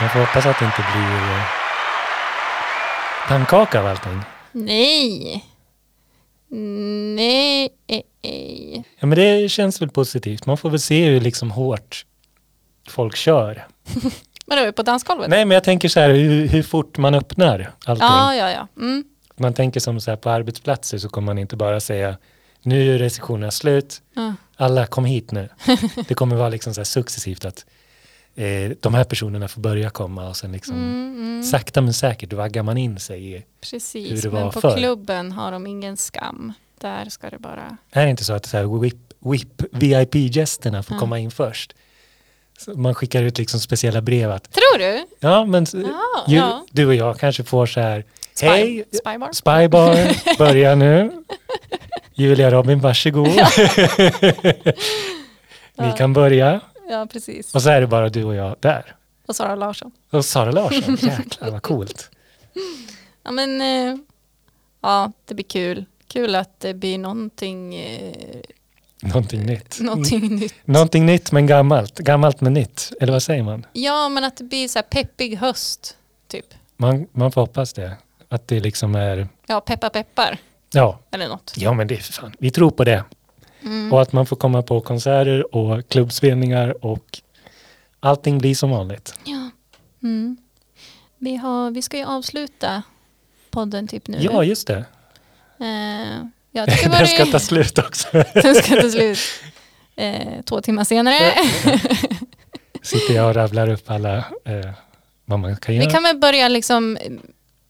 [SPEAKER 2] Jag får hoppas att det inte blir eh, pannkaka av allting.
[SPEAKER 1] Nej. Nej. eh, eh.
[SPEAKER 2] Ja, men det känns väl positivt. Man får väl se hur liksom hårt folk kör.
[SPEAKER 1] Vadå, på dansgolvet?
[SPEAKER 2] Nej, men jag tänker så här hur, hur fort man öppnar allting.
[SPEAKER 1] Ja, ja, ja. Mm.
[SPEAKER 2] Man tänker som så här på arbetsplatser så kommer man inte bara säga nu är restriktionerna slut,
[SPEAKER 1] Ja.
[SPEAKER 2] alla kom hit nu. Det kommer vara liksom så här successivt att eh, de här personerna får börja komma och sen liksom
[SPEAKER 1] Mm, mm.
[SPEAKER 2] sakta men säkert vaggar man in sig i. hur
[SPEAKER 1] Precis,
[SPEAKER 2] det
[SPEAKER 1] men
[SPEAKER 2] var
[SPEAKER 1] på
[SPEAKER 2] förr.
[SPEAKER 1] klubben har de ingen skam. Där ska det bara...
[SPEAKER 2] Är det inte så att så här whip, whip, VIP-gästerna får
[SPEAKER 1] Ja.
[SPEAKER 2] komma in först? Så man skickar ut liksom speciella brev att
[SPEAKER 1] Tror du?
[SPEAKER 2] Ja, men
[SPEAKER 1] Ja,
[SPEAKER 2] ju,
[SPEAKER 1] ja.
[SPEAKER 2] du och jag kanske får så här,
[SPEAKER 1] Spy-
[SPEAKER 2] hej,
[SPEAKER 1] Spybar?
[SPEAKER 2] Spybar, börja nu. Julia Robin, varsågod. Ni kan börja.
[SPEAKER 1] Ja, precis.
[SPEAKER 2] Och så är det bara du och jag där.
[SPEAKER 1] Och Sara Larsson.
[SPEAKER 2] Och Sara Larsson, jäklar vad coolt.
[SPEAKER 1] Ja, men eh, ja, det blir kul. Kul att det blir någonting, eh,
[SPEAKER 2] Någonting nytt.
[SPEAKER 1] någonting nytt.
[SPEAKER 2] Någonting nytt men gammalt, gammalt men nytt. Eller vad säger man?
[SPEAKER 1] Ja, men att det blir så här peppig höst, typ.
[SPEAKER 2] Man, man får hoppas det. Att det liksom är,
[SPEAKER 1] Ja, peppa peppar
[SPEAKER 2] ja,
[SPEAKER 1] eller något.
[SPEAKER 2] ja men det är för fan, vi tror på det.
[SPEAKER 1] Mm.
[SPEAKER 2] Och att man får komma på konserter och klubbspelningar och allting blir som vanligt.
[SPEAKER 1] Ja. Mm. Vi, har, vi ska ju avsluta podden typ nu.
[SPEAKER 2] Ja, just det.
[SPEAKER 1] eh, jag tycker
[SPEAKER 2] Den ska
[SPEAKER 1] var
[SPEAKER 2] ta
[SPEAKER 1] det...
[SPEAKER 2] slut också.
[SPEAKER 1] Den ska ta slut. Eh, två timmar senare.
[SPEAKER 2] Sitter jag och rabblar upp alla eh, vad man kan göra.
[SPEAKER 1] Vi kan väl börja liksom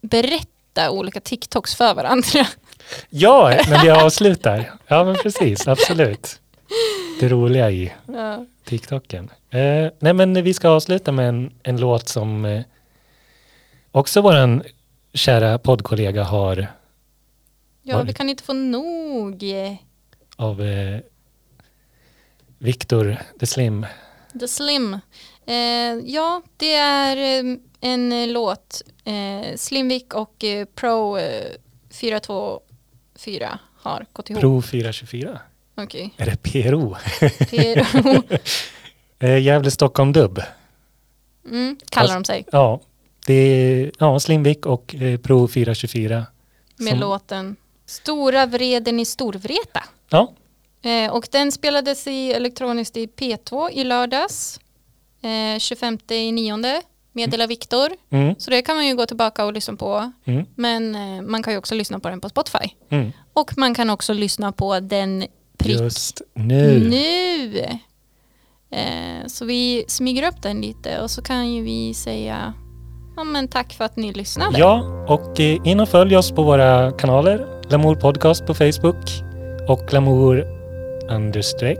[SPEAKER 1] berätta olika TikToks för varandra.
[SPEAKER 2] Ja, när vi avslutar. Ja, men precis. Absolut. Det roliga i
[SPEAKER 1] Ja.
[SPEAKER 2] TikToken. Eh, nej, men vi ska avsluta med en, en låt som eh, också vår kära poddkollega har
[SPEAKER 1] Ja, vi kan inte få nog.
[SPEAKER 2] av eh, Victor the Slim.
[SPEAKER 1] The Slim. Eh, ja, det är eh, en eh, låt. Eh, Slimvik och eh, Pro eh, 424 har gått ihop.
[SPEAKER 2] Pro 424.
[SPEAKER 1] Okej.
[SPEAKER 2] Är det PRO?
[SPEAKER 1] Pro.
[SPEAKER 2] Eh, Gävle Stockholm Dubb.
[SPEAKER 1] Mm, kallar de sig.
[SPEAKER 2] Ja, det är ja, Slimvik och eh, Pro 424.
[SPEAKER 1] Med
[SPEAKER 2] som-
[SPEAKER 1] låten Stora vreden i Storvreta.
[SPEAKER 2] Ja,
[SPEAKER 1] Eh, och den spelades i elektroniskt i P2 i lördags. Eh, 25 i nionde. Meddelar Viktor.
[SPEAKER 2] mm,
[SPEAKER 1] Så det kan man ju gå tillbaka och lyssna på.
[SPEAKER 2] Mm.
[SPEAKER 1] Men eh, man kan ju också lyssna på den på Spotify.
[SPEAKER 2] mm.
[SPEAKER 1] Och man kan också lyssna på den prick
[SPEAKER 2] just nu.
[SPEAKER 1] nu. Eh, så vi smyger upp den lite och så kan ju vi säga ja, men tack för att ni lyssnade.
[SPEAKER 2] Ja, och eh, in och följ oss på våra kanaler. Lamour Podcast på Facebook och Lamour understreck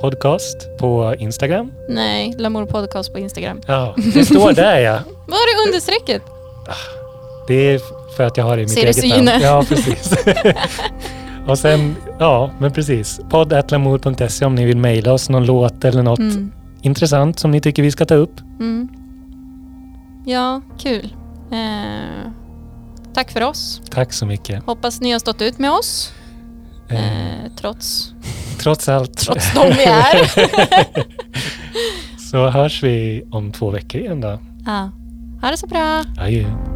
[SPEAKER 2] podcast på Instagram.
[SPEAKER 1] Nej, Lamour Podcast på Instagram.
[SPEAKER 2] Ja, det står där ja.
[SPEAKER 1] Var är understrecket?
[SPEAKER 2] Det är f- för att jag har det i mitt
[SPEAKER 1] Ser du
[SPEAKER 2] eget
[SPEAKER 1] syne?
[SPEAKER 2] namn. Ja, precis. och sen, ja, men precis. Podd.lamour.se om ni vill mejla oss någon låt eller något
[SPEAKER 1] Mm.
[SPEAKER 2] intressant som ni tycker vi ska ta upp.
[SPEAKER 1] Mm. Ja, kul. Eh, tack för oss.
[SPEAKER 2] Tack så mycket.
[SPEAKER 1] Hoppas ni har stått ut med oss.
[SPEAKER 2] Eh,
[SPEAKER 1] Eh, trots,
[SPEAKER 2] trots allt
[SPEAKER 1] trots de vi är.
[SPEAKER 2] så hörs vi om två veckor igen då.
[SPEAKER 1] ja. Ha det så bra.
[SPEAKER 2] Adjö.